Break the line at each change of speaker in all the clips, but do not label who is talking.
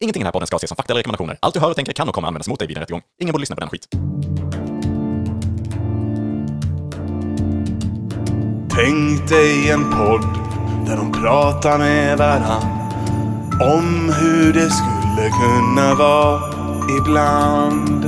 Ingenting i den här podden ska ses som fakta eller rekommendationer. Allt du hör och tänker kan och kommer användas mot dig vid en rättegång. Ingen borde lyssna på den skit.
Tänk dig en podd där de pratar med varann om hur det skulle kunna vara ibland.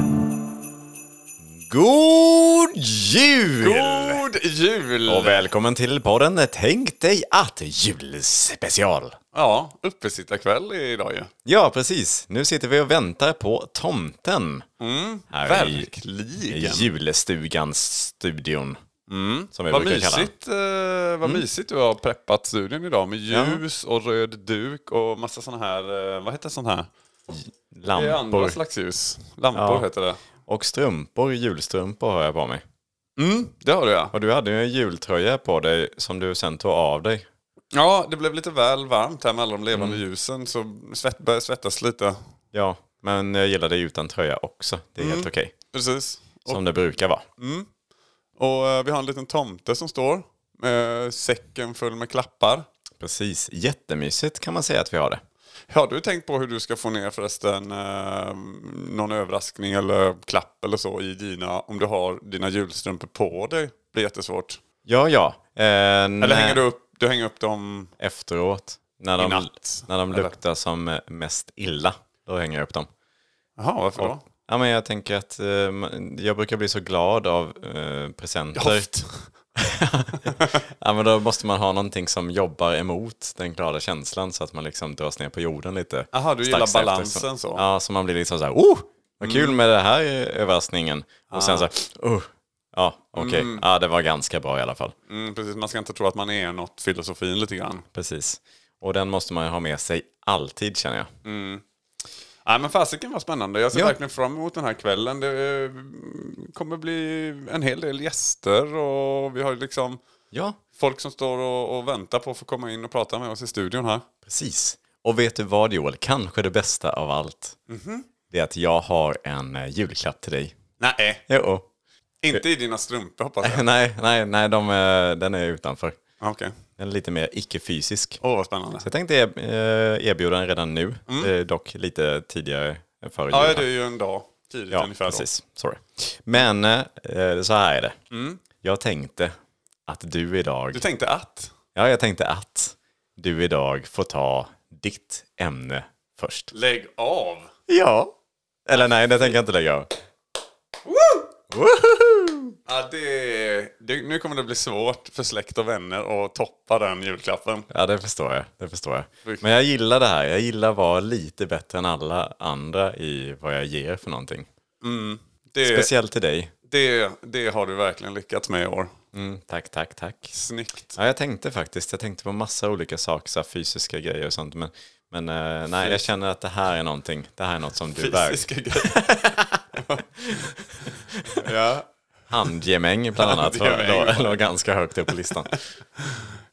God jul!
God jul!
Och välkommen till podden Tänk dig att julspecial.
Ja, uppesittarkväll idag ju.
Ja, precis. Nu sitter vi och väntar på tomten. Här i
Mm. Verkligen. Mm.
julstugans studion. Som vi
Vad
brukar kalla Mm. den.
mysigt, eh, vad mysigt du har preppat studion idag med ljus och röd duk och massa sådana här, eh, vad heter sånt här? Det är andra
Lampor
slags ljus. Lampor
Ja.
heter det.
och strumpor, julstrumpor har jag på mig.
Mm, det har du ja.
Och du hade ju en jultröja på dig som du sen tog av dig.
Ja, det blev lite väl varmt här med alla de levande
Mm.
ljusen så svett började svettas lite.
Ja, men jag gillar dig utan tröja också. Det är
Mm.
helt okej.
Precis.
Som det brukar vara.
Och eh, vi har en liten tomte som står med säcken full med klappar.
Precis. Jättemysigt kan man säga att vi har det.
Har du tänkt på hur du ska få ner förresten eh, någon överraskning eller klapp eller så i dina, om du har dina julstrumpor på dig? Det blir jättesvårt.
Ja, ja. Eh,
Eller hänger du upp, du hänger upp dem
efteråt. När
I
de,
natt,
när de
eller?
luktar som eh, mest illa, då hänger jag upp dem.
Jaha, varför då?
Ja, men jag tänker att eh, man- jag brukar bli så glad av eh, presenter. ja, men då måste man ha någonting som jobbar emot den glada känslan så att man liksom dras ner på jorden lite.
Aha, du gillar
Strax efter,
balansen så. Mm.
Ja, så man blir liksom så här, oh, vad kul med det här eh, överraskningen. Och
Ah.
sen så här, oh, ja, okej, ja, det var ganska bra i alla fall.
Mm, precis, man ska inte tro att man är något filosofin lite grann.
Precis. Och den måste man ju ha med sig alltid känner jag.
Nej men fasiken var spännande. Jag ser
Ja.
verkligen fram emot den här kvällen. Det eh, kommer bli en hel del gäster och vi har ju liksom
Ja,
folk som står och, och väntar på att få komma in och prata med oss i studion här.
Precis. Och vet du vad Joel, kanske det bästa av allt,
Mhm.
det är att jag har en eh, julklapp till dig.
Nej.
Jo.
Inte i dina strumpor hoppas jag.
nej, nej, nej, de, eh, den är utanför.
Ah, Okej.
Den är lite mer icke-fysisk.
Åh vad spännande.
Så jag tänkte eh, erbjuda den redan nu, eh, dock lite tidigare än före
Mm. Ja,
jul.
det är ju en dag tidigt
ja
ungefär då.
precis. Sorry. Men eh, så här är det.
Mm.
Jag tänkte att du idag,
Du tänkte att?
ja jag tänkte att du idag får ta ditt ämne först.
Lägg av!
Ja. Eller nej, det tänker jag inte lägga av.
Ja, det, det, nu kommer det bli svårt för släkt och vänner att toppa den julklappen.
Ja, det förstår jag. Det förstår jag. Men jag gillar det här. Jag gillar att vara lite bättre än alla andra i vad jag ger för någonting.
Det,
Speciellt till dig.
det, det har du verkligen lyckats med i år.
Mm, tack, tack, tack.
Snyggt.
Ja, jag tänkte faktiskt. Jag tänkte på massa olika saker, så här fysiska grejer och sånt. Men, men eh, nej, jag känner att det här är någonting. Det här är något som du bär.
Fysiska grejer. ja,
Handgemäng bland annat.
Handgemäng,
Handgemäng,
ja.
låg ganska högt upp på listan.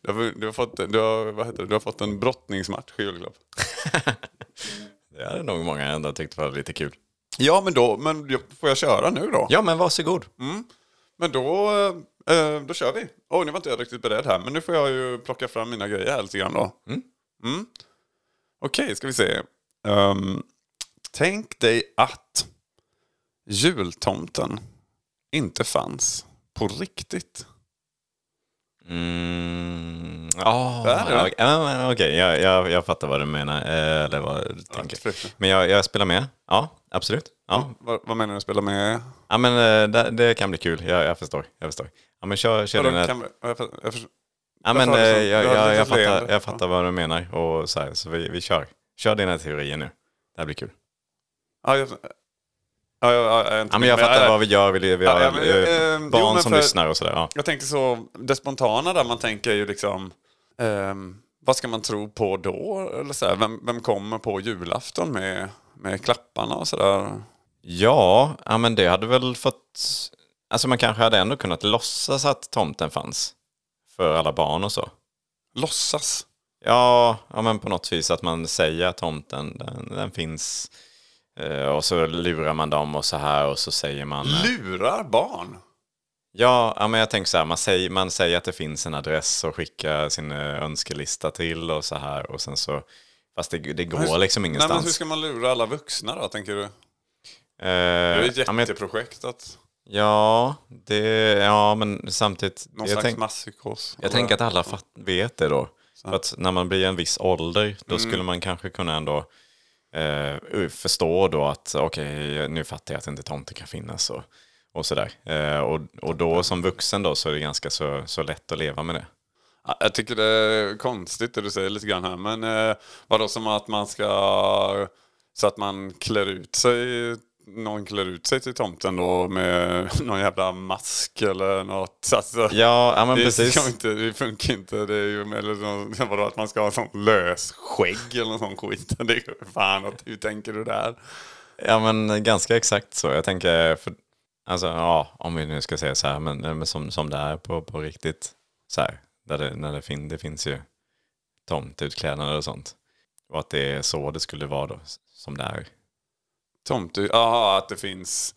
du, har, du, har fått, du, har, vad heter det? du har fått en brottningsmatch i julklapp.
Det hade nog många ändå tyckt var lite kul.
Ja, men då men jag- får jag köra nu då?
Ja, men varsågod.
Mm. Men då, eh, då kör vi. Åh, nu var inte jag riktigt beredd här. Men nu får jag ju plocka fram mina grejer här lite grann då. Mm. Okej, ska vi se. Ehm, tänk dig att jultomten inte fanns på riktigt.
Mm. Oh,
Där är
ja,
det.
ja, men okej, jag, jag, jag fattar vad du menar. eh, Eller vad du tänker.
absolut. Mm.
Men jag, jag spelar med. Ja, absolut. Ja,
Vad, vad menar du spela med?
ja men eh, det, det kan bli kul. Jag, jag förstår. Jag förstår. Ja, men kör, kör
Vadå,
dina...
kan vi- jag för- jag för-
Ja, men eh,
Varför har du så-
jag,
du har
jag,
ett
jag,
litet
fattar,
leende?
jag fattar vad du menar. Och så här, så vi, vi kör. Kör dina teorier nu. Det här blir kul.
Ja, jag- ja, jag- jag är inte
Ja, men
med.
jag fattar
Nej,
vad vi gör. Vi, vi
eh, Ja,
har
ja, men,
eh,
eh, jo,
barn
men
som
för-
lyssnar och sådär. Ja.
Jag tänker så, det spontana där man tänker ju liksom, ehm, vad ska man tro på då? Eller så här, vem, vem kommer på julafton med, med klapparna och sådär?
Ja, ja, men det hade väl fått... Alltså man kanske hade ändå kunnat låtsas att tomten fanns. För alla barn och så.
Låtsas.
Ja, ja men på något vis att man säger att tomten, den, den finns. Eh, och så lurar man dem och så här och så säger man... eh,
Lurar barn?
Ja, ja men jag tänker så här, man säger, man säger att det finns en adress och skickar sin eh, önskelista till och så här. Och sen så Fast det, det går
Men hur-
liksom
Alltså, Nej, men
ingenstans.
hur ska man lura alla vuxna då, tänker du?
Eh,
Det är ju ett
ja, men,
jätteprojekt att
ja, det, ja, men samtidigt.
någon
jag
slags
tänk-
masspsykos.
Jag tänker att alla fatt, vet det då. För att när man blir en viss ålder, då skulle man kanske kunna ändå eh, förstå då att okej, nu fattar jag att inte tomten kan finnas och, och sådär. Eh, och, och då som vuxen då så är det ganska så, så lätt att leva med det.
Ja, Jag tycker det är konstigt det du säger lite grann här. Men eh, vadå som att man ska... Så att man klär ut sig... Någon klär ut sig till tomten då med någon jävla mask eller något. Alltså,
Ja, ja men
det,
precis.
ska inte, det funkar inte. Det är ju, eller någon, vadå att man ska ha sånt lös skägg eller någon sån skit. Det är ju fan, att, hur tänker du där?
Ja, men ganska exakt så. Jag tänker, för, alltså, ja, om vi nu ska säga så här, men, men som, som det är på, på riktigt. Så här, där det, när det, fin, det finns ju tomtutklädnader och sånt. Och att det är så det skulle vara då, s- som det är.
Tomte, jaha att det finns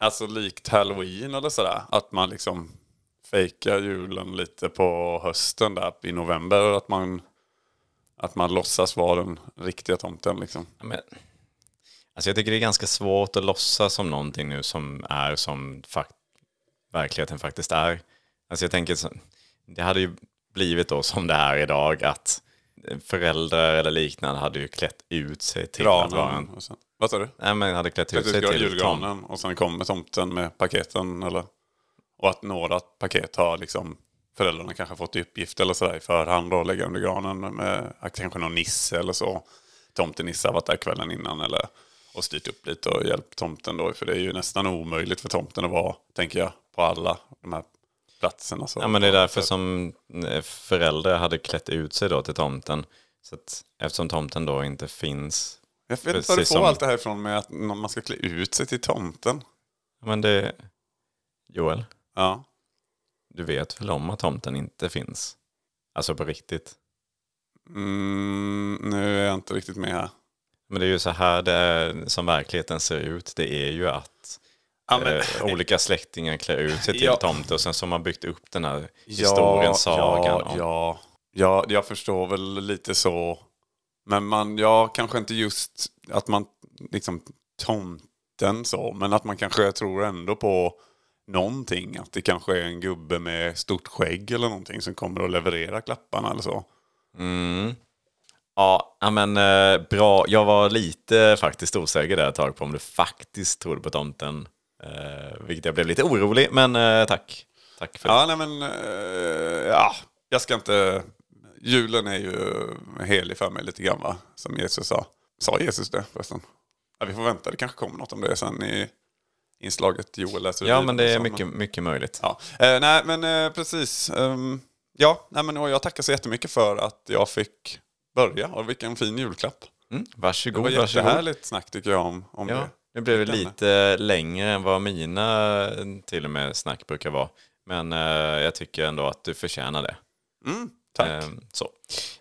alltså likt halloween eller sådär. Att man liksom fejkar julen lite på hösten där i november. Att man, att man låtsas vara den riktiga tomten liksom.
Ja, Men, alltså jag tycker det är ganska svårt att låtsas som någonting nu som är som fakt, verkligheten faktiskt är. Alltså jag tänker, så- det hade ju blivit då som det är idag att föräldrar eller liknande hade ju klätt ut sig till att vara en
Granen och sen, vad sa du?
Nej men hade klätt
Att
ut
du
sig
ska ha
till Tom.
julgranen och sen kommer tomten med paketen eller? Och att några paket har liksom föräldrarna kanske fått i uppgift eller sådär i förhand då, lägga under granen med att kanske någon nisse eller så. Tomtenisse har varit där kvällen innan eller och styrt upp lite och hjälpt tomten då. För det är ju nästan omöjligt för tomten att vara, tänker jag, på alla de här platserna. Så.
Ja men det är därför som eh, föräldrar hade klätt ut sig då till tomten. Så att, eftersom tomten då inte finns.
jag vet inte var du
precis
får
som-
allt det här ifrån med att någon- man ska klä ut sig till tomten.
Men det... Joel,
Ja.
du vet väl om att tomten inte finns? Alltså på riktigt.
Mm, nu är jag inte riktigt med
Eh,
här.
Men det är ju så här det är, som verkligheten ser ut. Det är ju att
Ja, men-
eh, olika släktingar klär ut sig till
Ja.
tomte och sen så har man byggt upp den här historien, sagan.
Ja,
om-
ja, ja, jag förstår väl lite så. Men man, ja, kanske inte just att man liksom tomten så, men att man kanske tror ändå på någonting. Att det kanske är en gubbe med stort skägg eller någonting som kommer att leverera klapparna eller så.
Mm. Ja, ja, men eh, bra. Jag var lite faktiskt osäker där ett tag på om du faktiskt trodde på tomten. Eh, vilket jag blev lite orolig, men eh, tack. Tack för det.
Ja, nej men, eh, ja, jag ska inte... Julen är ju helig för mig lite grann va, som Jesus sa. Sa Jesus det förresten? Ja, vi får vänta, det kanske kommer något om det sen i inslaget Joel läser
Ja,
Bibeln
men det är
och så,
mycket, mycket möjligt.
Ja. Eh, nej, men eh, precis. Ehm, ja, nej, men, och jag tackar så jättemycket för att jag fick börja. Och vilken fin julklapp.
Mm.
Det var
Varsågod, varsågod.
jättehärligt snack tycker jag om, om
Ja,
det.
nu blev det
Verkligen.
lite eh, längre än vad mina eh, till och med snack brukar vara. Men eh, jag tycker ändå att du förtjänar det.
Mm, tack.
Ehm, så.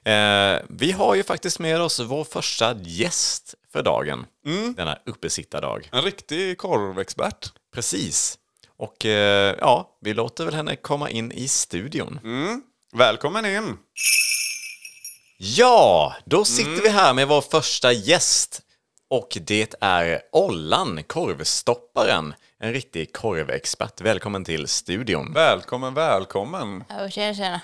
Eh, vi har ju faktiskt med oss vår första gäst för dagen.
Mm.
Denna uppesittardag.
En riktig korvexpert.
Precis. Och eh, ja, vi låter väl henne komma in i studion.
Välkommen in.
Ja, då sitter vi
Mm.
här med vår första gäst. Och det är Ollan, korvstopparen. En riktig korvexpert. Välkommen till studion.
Välkommen, välkommen.
Ja, tjena, tjena.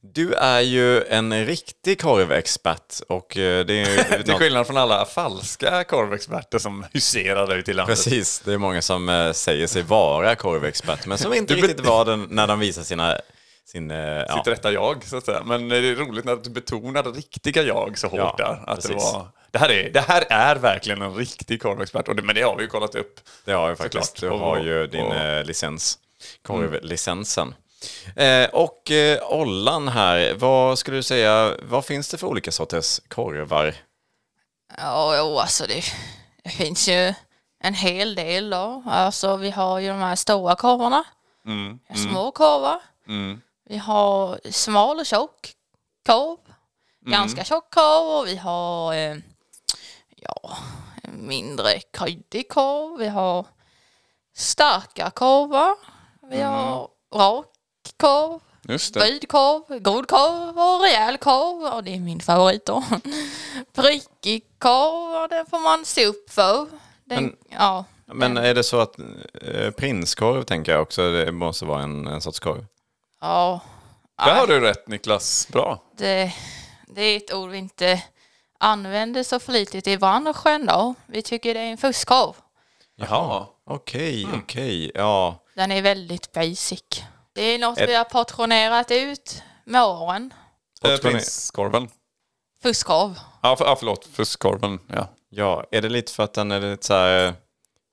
Du är ju en riktig korvexpert och eh, det är ju...
Till
något-
skillnad från alla falska korvexperter som huserar där ute i landet.
Precis, det är många som eh, säger sig vara korvexpert men som inte
Du bet-
riktigt var den när de visar sina... Sin, eh, ja.
Sitt rätta jag, så att säga. Men det är roligt när du betonar det riktiga jag så hårt
Ja,
där. Att det,
precis.
var, det, här är, det här är verkligen en riktig korvexpert. Och det, men det har vi ju kollat upp.
Det har jag faktiskt. Du
Såklart.
har ju din
Och-
eh, licens. Korvlicensen.
Mm.
Eh, och eh, Ollan här, vad skulle du säga, vad finns det för olika sorters korvar?
Ja, jo, alltså det, det finns ju en hel del då. Alltså vi har ju de här stora korvarna.
Mm,
Små korvar. Vi har smal och tjock korv.
Mm.
Ganska tjock korv och vi har eh, ja, en mindre kryddig korv. Vi har starka korvar. Vi har rak korv.
Mm. Just det.
Böjd korv, god korv och rejäl korv. Och det är min favorit då. Prickig korv, och den får man se upp för. Den,
Men-
ja,
Men är det så att eh, prinskorv tänker jag också, det måste vara en, en sorts korv?
ja,
Ah.
Där har du rätt Niklas. Bra.
det, det är ett ord vi inte använder så flitigt i branschen då. Vi tycker det är en fuskkorv.
Jaha.
Okej, okej, ja.
Den är väldigt basic. Det är något
Ett-
vi har portionerat ut med åren.
Eh,
Portionär-
Prinskorven.
Fuskkorv.
Ja, för, ja, förlåt. Fuskkorven. Ja.
Ja, är det lite för att den är lite så här, ja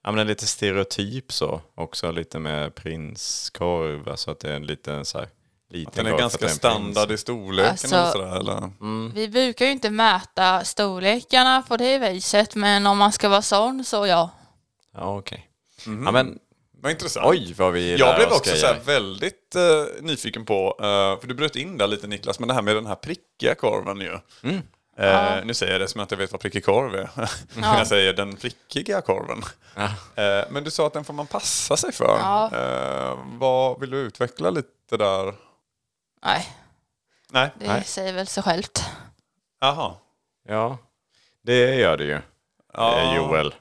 men den är lite stereotyp så också, lite med prinskorv, alltså att det är en liten så här, liten
Den är
korv för
ganska
att det är en prins.
standard i storleken
Alltså-
eller sådär. Eller?
Mm.
Vi brukar ju inte mäta storlekarna på det viset, men om man ska vara sån så ja.
Ja, okej. Ja men,
Vad intressant.
oj vad vi lär
Jag blev
oss
också
grejer.
så här väldigt eh, nyfiken på, eh, för du bröt in där lite Niklas, men det här med den här prickiga korven ju.
Mm.
Eh, Nu säger jag det som att jag vet vad prickig korv är.
Ja.
jag säger den prickiga korven. Eh, men du sa att den får man passa sig för.
Ja.
Eh, vad vill du utveckla lite där?
Nej,
Nej.
det säger väl sig självt.
Jaha.
Ja, det gör det ju,
Ja.
eh, Joel.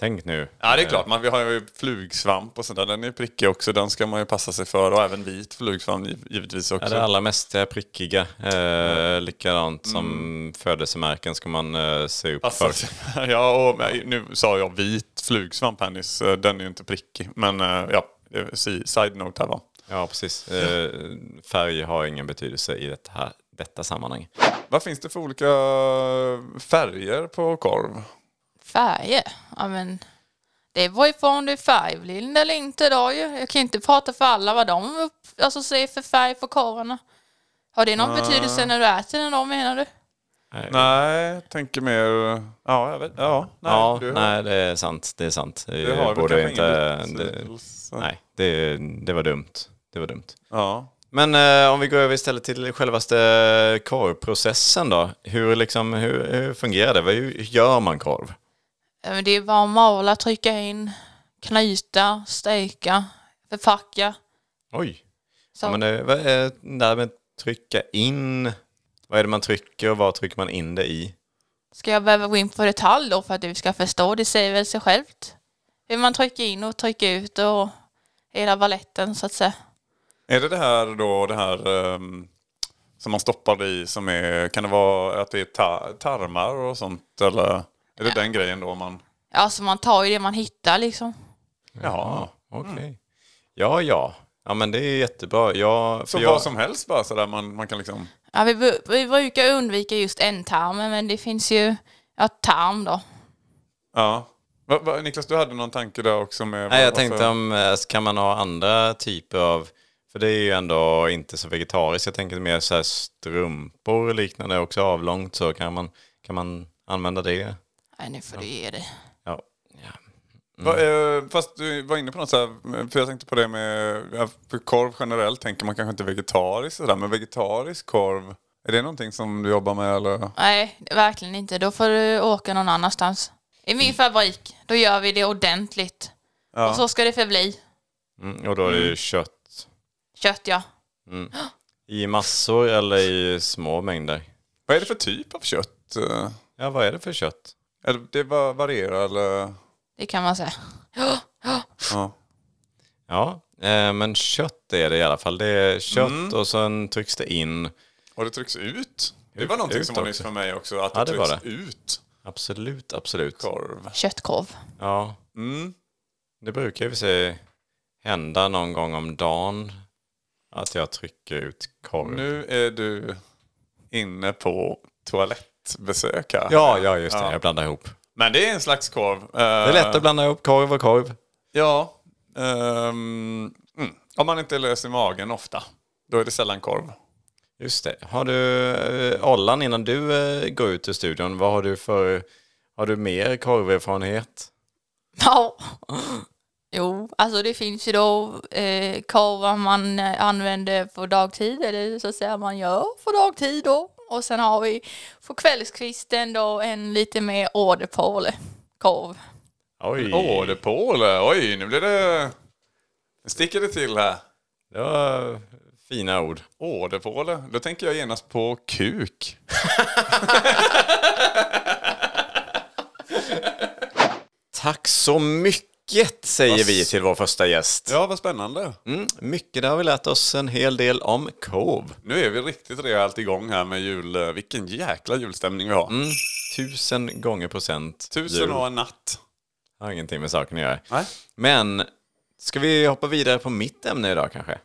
Tänk nu.
Ja det är klart, man, vi har ju flugsvamp och sånt där. Den är ju prickig också, den ska man ju passa sig för. Och även vit flugsvamp giv- givetvis
Ja,
också.
det allra mest eh, prickiga. Eh, likadant som födelsemärken ska man eh, se upp
Passar
för.
Mm. sig. Ja, och nej, nu sa jag vit flugsvamp här nyss. Eh, Den är ju inte prickig. Men eh, ja, det är si- side note här va.
Ja, precis. Eh, färg har ingen betydelse i detta, här, detta sammanhang.
Vad finns det för olika färger på korv?
Färger, ja men det var ju på om du är färgblind eller inte då ju. Jag kan inte prata för alla vad de upp- alltså, ser för färg på korvarna. Har det någon
Ah.
betydelse när du äter den då menar du?
Eh,
Nej, jag tänker mer... Ja, jag vet. Ja, nej.
ja,
du,
nej, det är sant. Det är sant. Eh,
Du har väl
Borde
kanske
inte...
ingen
Det,
betydelse.
nej, det, det var dumt. Det var dumt.
Ja.
Men eh, om vi går över istället till självaste eh, korvprocessen då. Hur, liksom, hur, hur fungerar det? Vad- Hur gör man korv?
Ja, men Det är bara att mala, trycka in, knyta, steka, förpacka.
Oj.
Så.
Ja, men det, vad är det där med att trycka in? Vad är det man trycker och vad trycker man in det i?
Ska jag behöva gå in på detalj då för att du ska förstå? Det säger väl sig självt. Hur man trycker in och trycker ut och hela balletten så att säga.
Är det det här då, det här ehm, som man stoppar det i som är... Kan det vara att det är ta- tarmar och sånt? Eller är det den grejen då man...
Alltså man tar ju det man hittar liksom.
Jaha.
Okej.
Mm.
Ja, ja. Ja, men det är jättebra. Jag,
Så
för jag,
vad som helst bara sådär man, man kan liksom...
Ja, vi, bru- vi brukar undvika just ändtarmen men det finns ju ja, tarm då.
Ja. Va, va, Niklas, du hade någon tanke där också med...
Nej, jag
varför-
tänkte om, eh, kan man ha andra typer av, för det är ju ändå inte så vegetariskt, jag tänker mer så här strumpor och liknande, också avlångt, så kan man, kan man använda det?
Nej nu får du ge dig.
Ja. ja.
Va, eh, fast du var inne på något så här, för jag tänkte på det med... ja, För korv generellt tänker man kanske inte vegetariskt sådär, men vegetarisk korv, är det någonting som du jobbar med eller?
Nej verkligen inte. Då får du åka någon annanstans. I min fabrik, då gör vi det ordentligt. Och så ska det förbli.
Mm, och då är det ju kött
Kött ja.
i massor eller i små mängder.
Vad är det för typ av kött? Eh,
Ja, vad är det för kött?
Eller det va- varierar eller?
Det kan man säga.
Ja.
Ja, eh, men kött är det i alla fall. Det är kött och sen trycks det in.
Och det trycks ut? Det var någonting
ut
som var nytt
också.
för mig också, att det,
Ja, det var
trycks ut
Absolut, absolut.
korv.
Köttkorv.
Ja,
Mm.
det brukar ju för sig hända någon gång om dagen att jag trycker ut korv.
Nu är du inne på toalettbesök här.
Ja, ja, just det.
Ja.
Jag blandar ihop.
Men det är en slags korv. Eh,
Det är lätt att blanda ihop korv och korv.
Ja. ehm, mm. Om man inte är lös i magen ofta, då är det sällan korv.
Just det. Har du, eh, Ollan, innan du eh, går ut ur studion, vad har du för, har du mer korverfarenhet?
Ja. Jo, alltså det finns ju då eh, korvar man eh, använder på dagtid eller så att säga man gör på dagtid då. Och sen har vi på kvällskvisten då en lite mer åderpåle korv.
Oj,
Åh, det Paul. Oj, nu blir det... Nu sticker det till här.
det var Fina ord.
Ådervåle. Då tänker jag genast på kuk.
Tack så mycket säger vi till vår första gäst.
Ja, vad spännande.
Mm, mycket där har vi lärt oss en hel del om Cove.
Nu är vi riktigt rejält igång här med jul. eh, Vilken jäkla julstämning vi har.
Tusen gånger procent
Tusen
Mm. jul.
och en natt.
Har ingenting med saken att göra.
Nej,
Men ska vi hoppa vidare på mitt ämne idag kanske?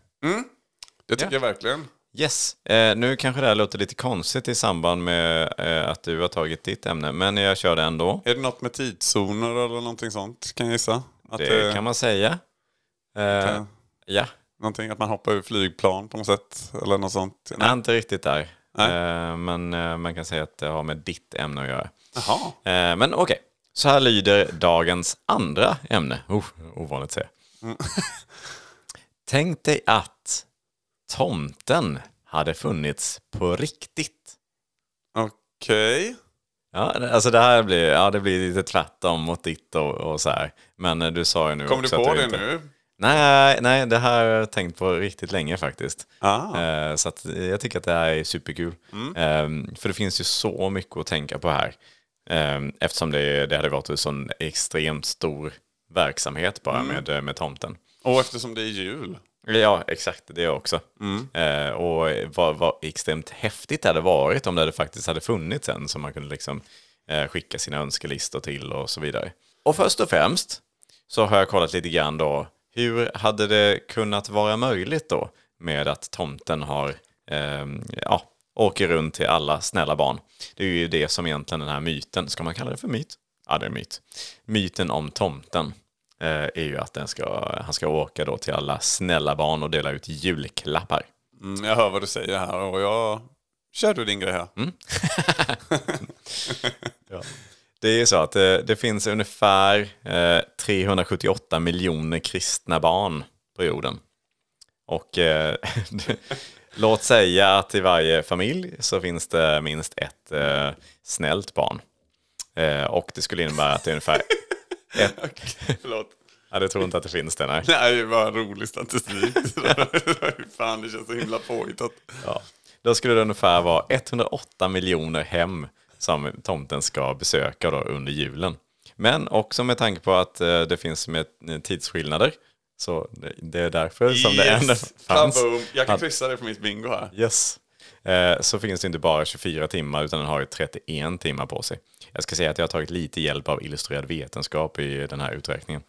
det tycker jag verkligen.
Yes, eh, nu kanske det här låter lite konstigt i samband med eh, att du har tagit ditt ämne, men jag kör det ändå.
Är det något med tidszoner eller någonting sånt kan jag gissa? Att
Det kan man säga. Eh,
kan-
ja,
Någonting att man hoppar ur flygplan på något sätt eller något sånt?
jag är inte riktigt där.
Nej.
Eh, men eh, man kan säga att det har med ditt ämne att göra.
Jaha.
Eh, men okej, så här lyder dagens andra ämne. Oh, ovanligt säga.
Mm.
Tänk dig att tomten hade funnits på riktigt.
Okej.
Ja, det- alltså det här blir, ja, det blir lite tvärtom mot ditt och, och så här. Men eh, du sa ju nu
Kom du
också
på
att
det
inte...
nu?
Nej, nej, det här har jag tänkt på riktigt länge faktiskt.
Ah.
Eh, Så att eh, jag tycker att det här är superkul. Eh, För det finns ju så mycket att tänka på här. Eh, Eftersom det, det hade varit en sån extremt stor verksamhet bara med, med tomten.
Och eftersom det är jul.
Ja, exakt. Det också. Eh, och vad, vad extremt häftigt det hade varit om det hade faktiskt hade funnits en som man kunde liksom, eh, skicka sina önskelistor till och så vidare. Och först och främst så har jag kollat lite grann då, hur hade det kunnat vara möjligt då med att tomten har, ehm, ja, åker runt till alla snälla barn. Det är ju det som egentligen den här myten, ska man kalla det för myt? Ja, det är en myt. Myten om tomten eh, är ju att den ska, han ska åka då till alla snälla barn och dela ut julklappar.
Mm, jag hör vad du säger här och jag... Kör du din grej här.
Mm. Det är ju så att eh, det finns ungefär eh, 378 miljoner kristna barn på jorden. Och eh, låt säga att i varje familj så finns det minst ett eh, snällt barn. Eh, och det skulle innebära att det är ungefär...
Förlåt.
Ja, det tror inte att det finns det, nej.
Nej, det var en rolig statistik. Fan, det känns så himla påhittat.
Ja. Då skulle det ungefär vara 108 miljoner hem som tomten ska besöka då under julen. Men också med tanke på att eh, det finns med tidsskillnader. Så det- det är därför som det ändå fanns.
Kaboom. Jag kan
Att-
kryssa det på mitt bingo här.
Yes. Eh, Så finns det inte bara 24 timmar utan den har ju 31 timmar på sig. Jag ska säga att jag har tagit lite hjälp av illustrerad vetenskap i den här uträkningen.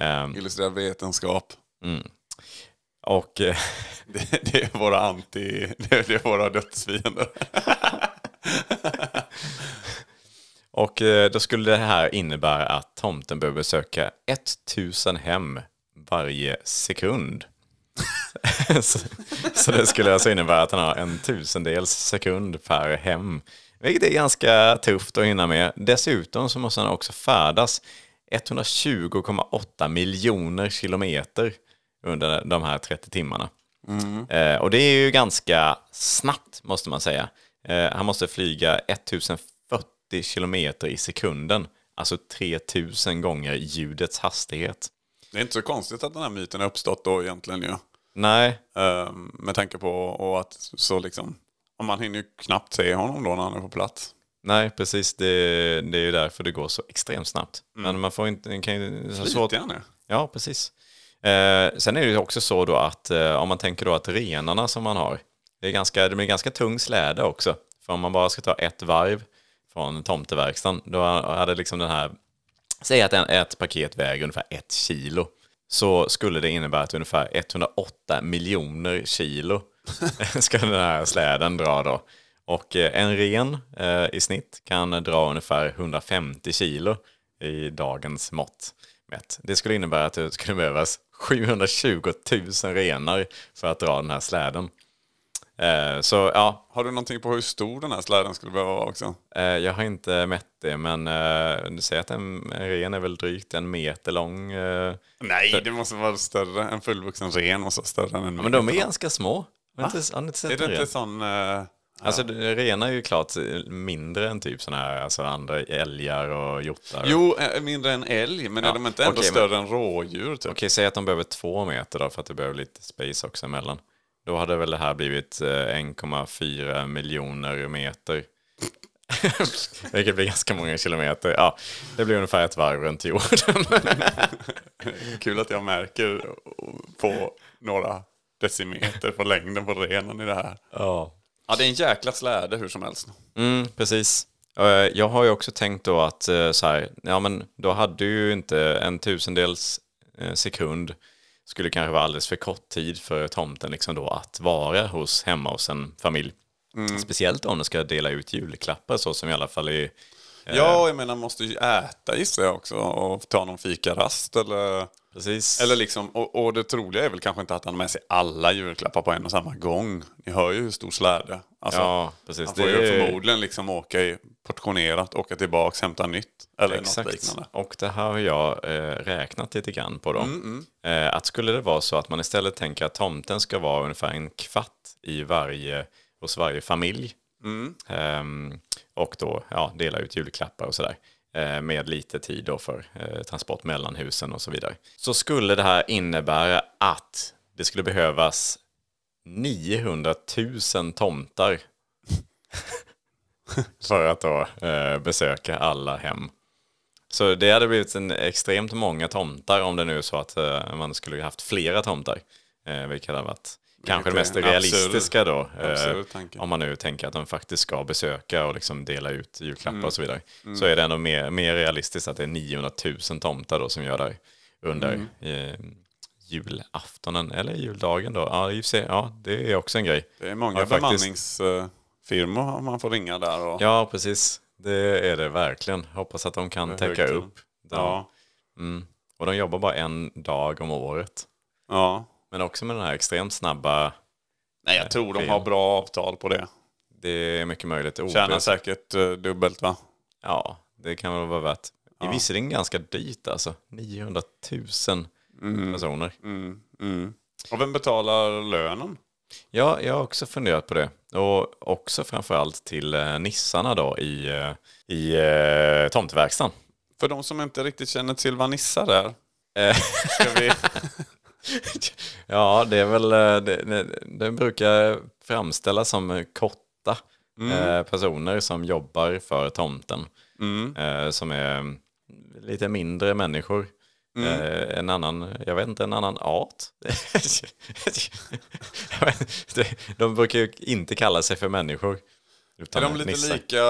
Ehm,
Illustrerad vetenskap.
Och eh,
Det, det är våra anti... Det är, det är våra dödsfiender.
Och eh, då skulle det här innebära att tomten behöver besöka 1000 hem varje sekund. så, så det skulle alltså innebära att han har en tusendels sekund per hem. Vilket är ganska tufft att hinna med. Dessutom så måste han också färdas 120,8 miljoner kilometer under de här 30 timmarna. Eh, och det är ju ganska snabbt måste man säga. Eh, han måste flyga 1040 kilometer i sekunden. Alltså 3000 gånger ljudets hastighet.
Det är inte så konstigt att den här myten har uppstått då egentligen ju.
Nej,
Ehm, med tanke på och att så liksom... ja, Man hinner ju knappt se honom då när han är på plats.
nej precis. Det, det är ju därför det går så extremt snabbt. Men man får inte... Kan ju, det är svårt,
Lite grann ja.
Ja, precis. Eh, sen är det ju också så då att eh, om man tänker då att renarna som man har, det, är ganska, det blir ganska tung släde också. För om man bara ska ta ett varv från tomteverkstan, då hade liksom den här, säg att en, ett paket väger ungefär ett kilo, så skulle det innebära att ungefär 108 miljoner kilo ska den här släden dra då. Och eh, en ren eh, i snitt kan dra ungefär 150 kilo i dagens mått mätt. Det skulle innebära att det skulle behövas 720 000 renar för att dra den här släden. Eh, Så ja,
Har du någonting på hur stor den här släden skulle behöva vara också?
eh, jag har inte mätt det, men eh, du säger att en en ren är väl drygt en meter lång. eh.
Nej, det måste vara större. En fullvuxen ren måste vara större än en
Ja, men de är ganska små. Har ni inte, har ni inte
Är
sett en
det
ren?
inte sån... eh,
Alltså det- renar är ju klart mindre än typ sådana här, alltså andra älgar och hjortar.
Jo, eh, mindre än älg, men är de inte ändå
okej, men-
större än rådjur? Typ?
Okej, säg att de behöver två meter då för att det behöver lite space också emellan. Då hade väl det här blivit eh, 1,4 miljoner meter. Vilket blir ganska många kilometer. Ja, det blir ungefär ett varv runt jorden.
Kul att jag märker på några decimeter på längden på renen i det här.
ja.
Ja, det är en jäkla släde hur som helst.
Mm, precis. Eh, Jag har ju också tänkt då att eh, så här, ja men då hade ju inte en tusendels eh, sekund skulle kanske vara alldeles för kort tid för tomten liksom då att vara hos, hemma hos en familj.
Mm.
Speciellt om de ska dela ut julklappar så som i alla fall i... Eh.
Ja, jag menar måste ju äta gissar jag också och ta någon fikarast eller...
Precis.
Eller liksom, och, och det troliga är väl kanske inte att han har med sig alla julklappar på en och samma gång. Ni hör ju hur stor släde. Alltså,
ja, precis.
han får
är
ju förmodligen liksom åka i portionerat, åka tillbaks, hämta nytt eller något
Exakt,
liknande.
och det här har jag eh, räknat lite grann på. Då. Eh, att skulle det vara så att man istället tänker att tomten ska vara ungefär en kvart i varje, hos varje familj ehm, och då ja, dela ut julklappar och sådär eh, med lite tid då för eh, transport mellan husen och så vidare. Så skulle det här innebära att det skulle behövas 900 000 tomtar för att då eh, besöka alla hem. Så det hade blivit en extremt många tomtar om det nu är så att eh, man skulle ha haft flera tomtar. Eh, vilket hade varit kanske det mest
en
realistiska då. Eh,
Absurd tanke.
om man nu tänker att de faktiskt ska besöka och liksom dela ut julklappar
Mm.
och så vidare. Så är det ändå mer, mer realistiskt att det är 900 000 tomtar då som gör det under
Mm.
eh, julaftonen eller juldagen då. Ja, i och för sig, ja, det är också en grej.
Det är många
Ja, faktiskt.
bemanningsfirmor man får ringa där och...
Ja, precis. Det är det verkligen. Hoppas att de kan täcka
högtiden.
upp. den.
ja.
Mm. Och de jobbar bara en dag om året.
ja.
Men också med den här extremt snabba,
Nej, jag tror de
fel.
har bra avtal på det.
det är mycket möjligt. OB.
Tjänar säkert eh, dubbelt va?
Ja, det kan väl vara värt. I Visserligen ganska dyrt alltså. 900 000
Mm.
personer.
Och vem betalar lönen?
Ja, jag har också funderat på det. Och också framförallt till eh, nissarna då i, eh, i eh, tomteverkstan.
För de som inte riktigt känner till vad Nissa där.
Eh,
Ska vi...
ja, det är väl, eh, det, det, det brukar framställas som eh, korta
Mm.
eh, personer som jobbar för tomten. Eh, som är mm, lite mindre människor.
Mm.
Eh, en annan, jag vet inte, en annan art. Jag vet- det- de brukar ju inte kalla sig för människor.
är
utan
de lite
nissar.
lika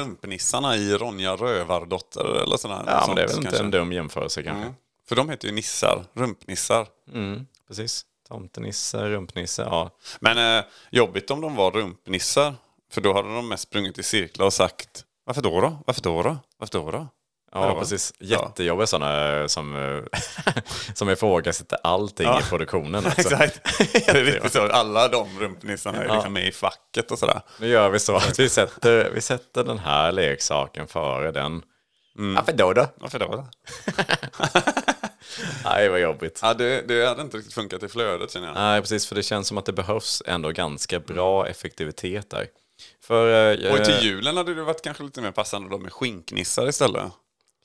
rumpnissarna i Ronja Rövardotter eller sådär?
Ja, men
Sånt
det är väl inte
kanske.
en dum jämförelse kanske.
Mm. För de heter ju nissar, rumpnissar.
Mm, precis. Tomtenisse, rumpnisse, ja.
Men eh, jobbigt om de var rumpnissar. För då hade de mest sprungit i cirklar och sagt Varför då då? Varför då då? Varför då då?
Ja,
Ja.
precis.
Ja.
Jättejobbiga sådana som, eh, som ifrågasätter allting i produktionen. Också.
Exakt. Alltså, det är riktigt så. Alla de rumpnissarna är liksom med i facket och sådär.
Nu gör vi så att vi sätter, vi sätter den här leksaken före den.
Mm.
Varför då då?
Varför då? då?
Nej, vad jobbigt.
Ja, det, det hade inte riktigt funkat i flödet känner jag.
Nej, precis. För det känns som att det behövs ändå ganska bra effektivitet där. För... eh,
Mm. Och till julen hade det varit kanske lite mer passande då med skinknissar istället.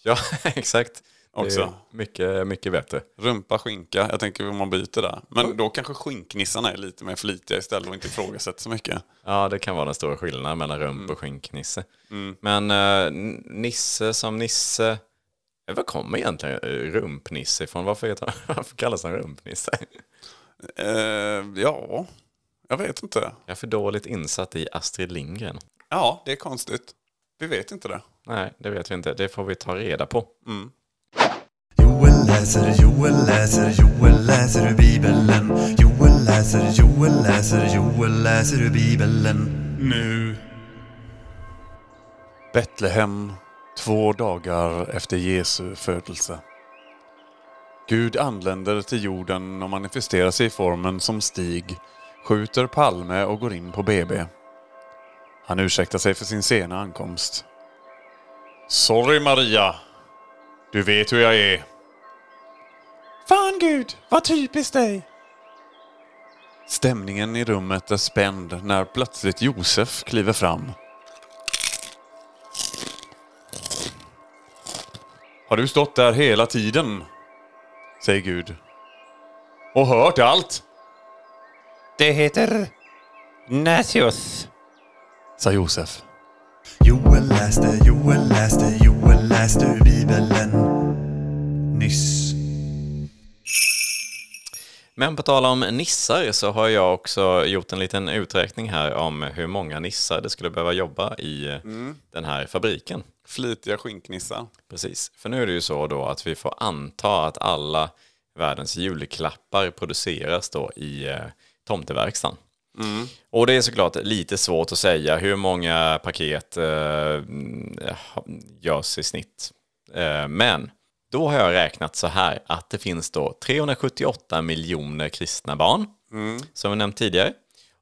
Ja, exakt. Det är
Också.
Mycket, mycket bättre.
Rumpa, skinka. Jag tänker om man byter där. Men då kanske skinknissarna är lite mer flitiga istället och inte ifrågasätter så mycket.
Ja, det kan vara den stora skillnaden mellan rump och skinknisse. Men eh, n- Nisse som Nisse, eh, var kommer egentligen eh, rumpnisse ifrån? Varför, heter han, varför kallas han rumpnisse?
Eh, ja, jag vet inte.
Jag är för dåligt insatt i Astrid Lindgren.
Ja, det är konstigt. Vi vet inte det.
Nej, det vet vi inte. Det får vi ta reda på.
Joel läser, Joel läser, Joel läser ur Bibeln. Joel läser, Joel läser, Joel läser ur Bibeln.
Nu.
Betlehem, två dagar efter Jesu födelse. Gud anländer till jorden och manifesterar sig i formen som Stig, skjuter Palme och går in på BB. Han ursäktar sig för sin sena ankomst. Sorry Maria, du vet hur jag är. Fan Gud, vad typiskt dig! Stämningen i rummet är spänd när plötsligt Josef kliver fram. Har du stått där hela tiden? Säger Gud. Och hört allt?
Det heter Natius.
sa Josef.
Joel läste, Joel läste, Joel läste ur Bibeln nyss.
Men på tal om nissar så har jag också gjort en liten uträkning här om hur många nissar det skulle behöva jobba i eh, den här fabriken.
Flitiga skinknissar.
Precis, för nu är det ju så då att vi får anta att alla världens julklappar produceras då i eh, tomteverkstan. Och det är såklart lite svårt att säga hur många paket eh, mm, ha- görs i snitt. Eh, men då har jag räknat så här att det finns då 378 miljoner kristna barn, som vi nämnt tidigare.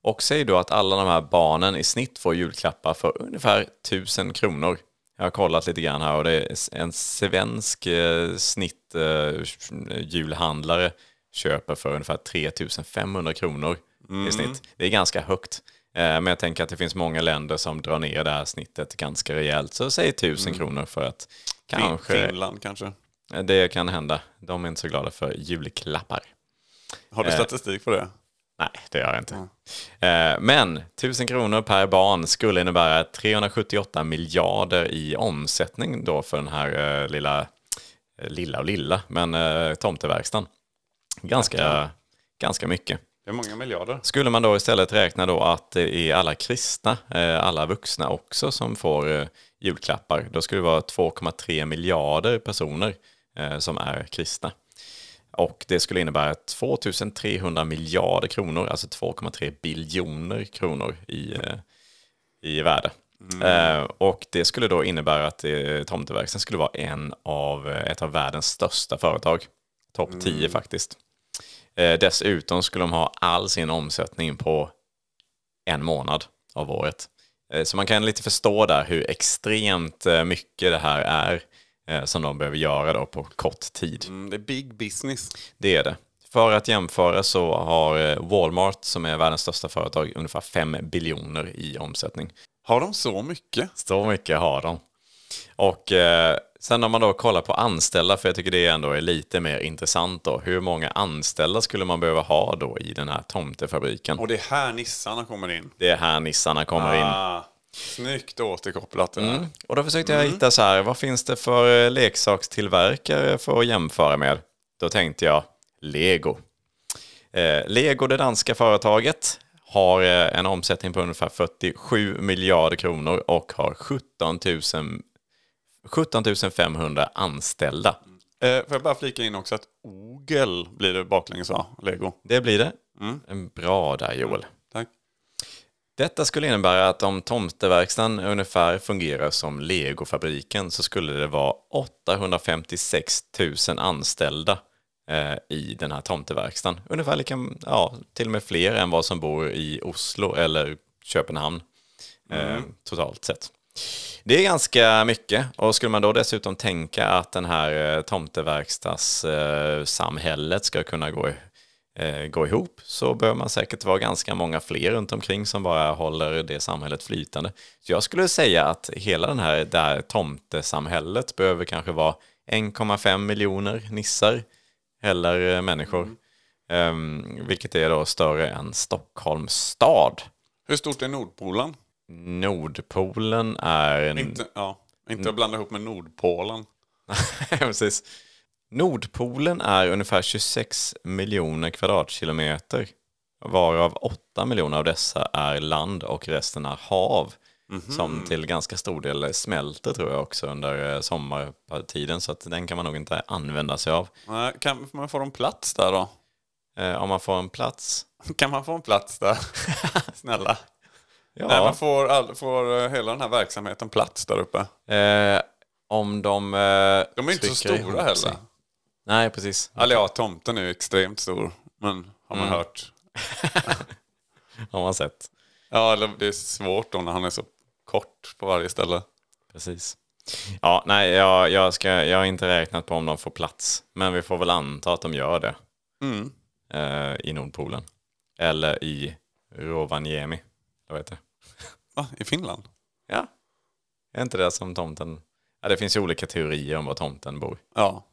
Och säg då att alla de här barnen i snitt får julklappar för ungefär 1000 kronor. Jag har kollat lite grann här och det är en svensk eh, snitt eh, julhandlare köper för ungefär 3500 kronor i snitt. Det är ganska högt. Eh, Men jag tänker att det finns många länder som drar ner det här snittet ganska rejält. Så säg 1000 kronor för att
Fin-
kanske
Finland kanske.
Eh, det kan hända. De är inte så glada för julklappar.
Har du
Eh.
statistik på det?
Nej, det gör jag inte. Eh, Men 1000 kronor per barn skulle innebära 378 miljarder i omsättning då för den här eh, lilla, eh, lilla och lilla, men eh, tomteverkstan. Ganska, ganska mycket.
Det är många miljarder.
Skulle man då istället räkna då att det är alla kristna, eh, alla vuxna också som får eh, julklappar, då skulle det vara 2,3 miljarder personer eh, som är kristna. Och det skulle innebära 2300 miljarder kronor, alltså 2,3 biljoner kronor i, eh, i värde. Eh, och det skulle då innebära att eh, Tomteverkstan skulle vara en av, eh, ett av världens största företag. Topp 10 faktiskt. Eh, dessutom skulle de ha all sin omsättning på en månad av året. Eh, så man kan lite förstå där hur extremt eh, mycket det här är eh, som de behöver göra då på kort tid.
Mm, det är big business.
Det är det. För att jämföra så har eh, Walmart, som är världens största företag, ungefär 5 biljoner i omsättning.
Har de så mycket?
Så mycket har de. Och eh, sen om man då kollar på anställda, för jag tycker det ändå är lite mer intressant då. Hur många anställda skulle man behöva ha då i den här tomtefabriken?
Och det är här nissarna kommer in.
Det är här nissarna kommer in.
Ah, snyggt återkopplat det där.
Mm. Och då försökte jag hitta så här, vad finns det för eh, leksakstillverkare för att jämföra med? Då tänkte jag Lego. Eh, Lego, det danska företaget, har eh, en omsättning på ungefär 47 miljarder kronor och har 17 000 17 500 anställda.
Eh, får jag bara flika in också att ogel blir det baklänges va? Lego.
Det blir det.
Mm.
En Bra där Joel.
Tack.
Detta skulle innebära att om tomteverkstan ungefär fungerar som legofabriken så skulle det vara 856 000 anställda eh, i den här tomteverkstan. Ungefär lika, ja, till och med fler än vad som bor i Oslo eller Köpenhamn eh, totalt sett. Det är ganska mycket och skulle man då dessutom tänka att den här eh, tomteverkstadssamhället eh, samhället ska kunna gå, i- eh, gå ihop så bör man säkert vara ganska många fler runt omkring som bara håller det samhället flytande. Så jag skulle säga att hela den här, det här tomtesamhället behöver kanske vara 1,5 miljoner nissar eller eh, människor. Ehm, vilket är då större än Stockholms stad.
Hur stort är Nordpolen?
Nordpolen är... en-
Inte, ja,
Mm.
inte att blanda ihop med Nordpolen.
Ja, precis. Nordpolen är ungefär 26 miljoner kvadratkilometer, varav 8 miljoner av dessa är land och resten är hav,
Mhm.
som till ganska stor del smälter tror jag också under eh, sommartiden, så att den kan man nog inte använda sig av.
Nej, Kan man få en plats där då?
Eh, om man får en plats,
Kan man få en plats där? Snälla.
ja,
Nej, man får, all, får eh, hela den här verksamheten plats där uppe.
eh, om de... Eh,
De är inte så
trycker ihop
stora heller.
sig. Nej, precis.
Eller ja, tomten är ju extremt stor. Men har man hört.
Har man sett.
Ja, eller det är svårt då när han är så kort på varje ställe.
Precis. Ja, nej, jag, jag, ska, jag har inte räknat på om de får plats. Men vi får väl anta att de gör det
Mm.
eh, i Nordpolen. Eller i Rovaniemi. Vad heter det?
Va, i Finland?
Ja. Är inte det som tomten... Ja, det finns ju olika teorier om var tomten bor.
Ja.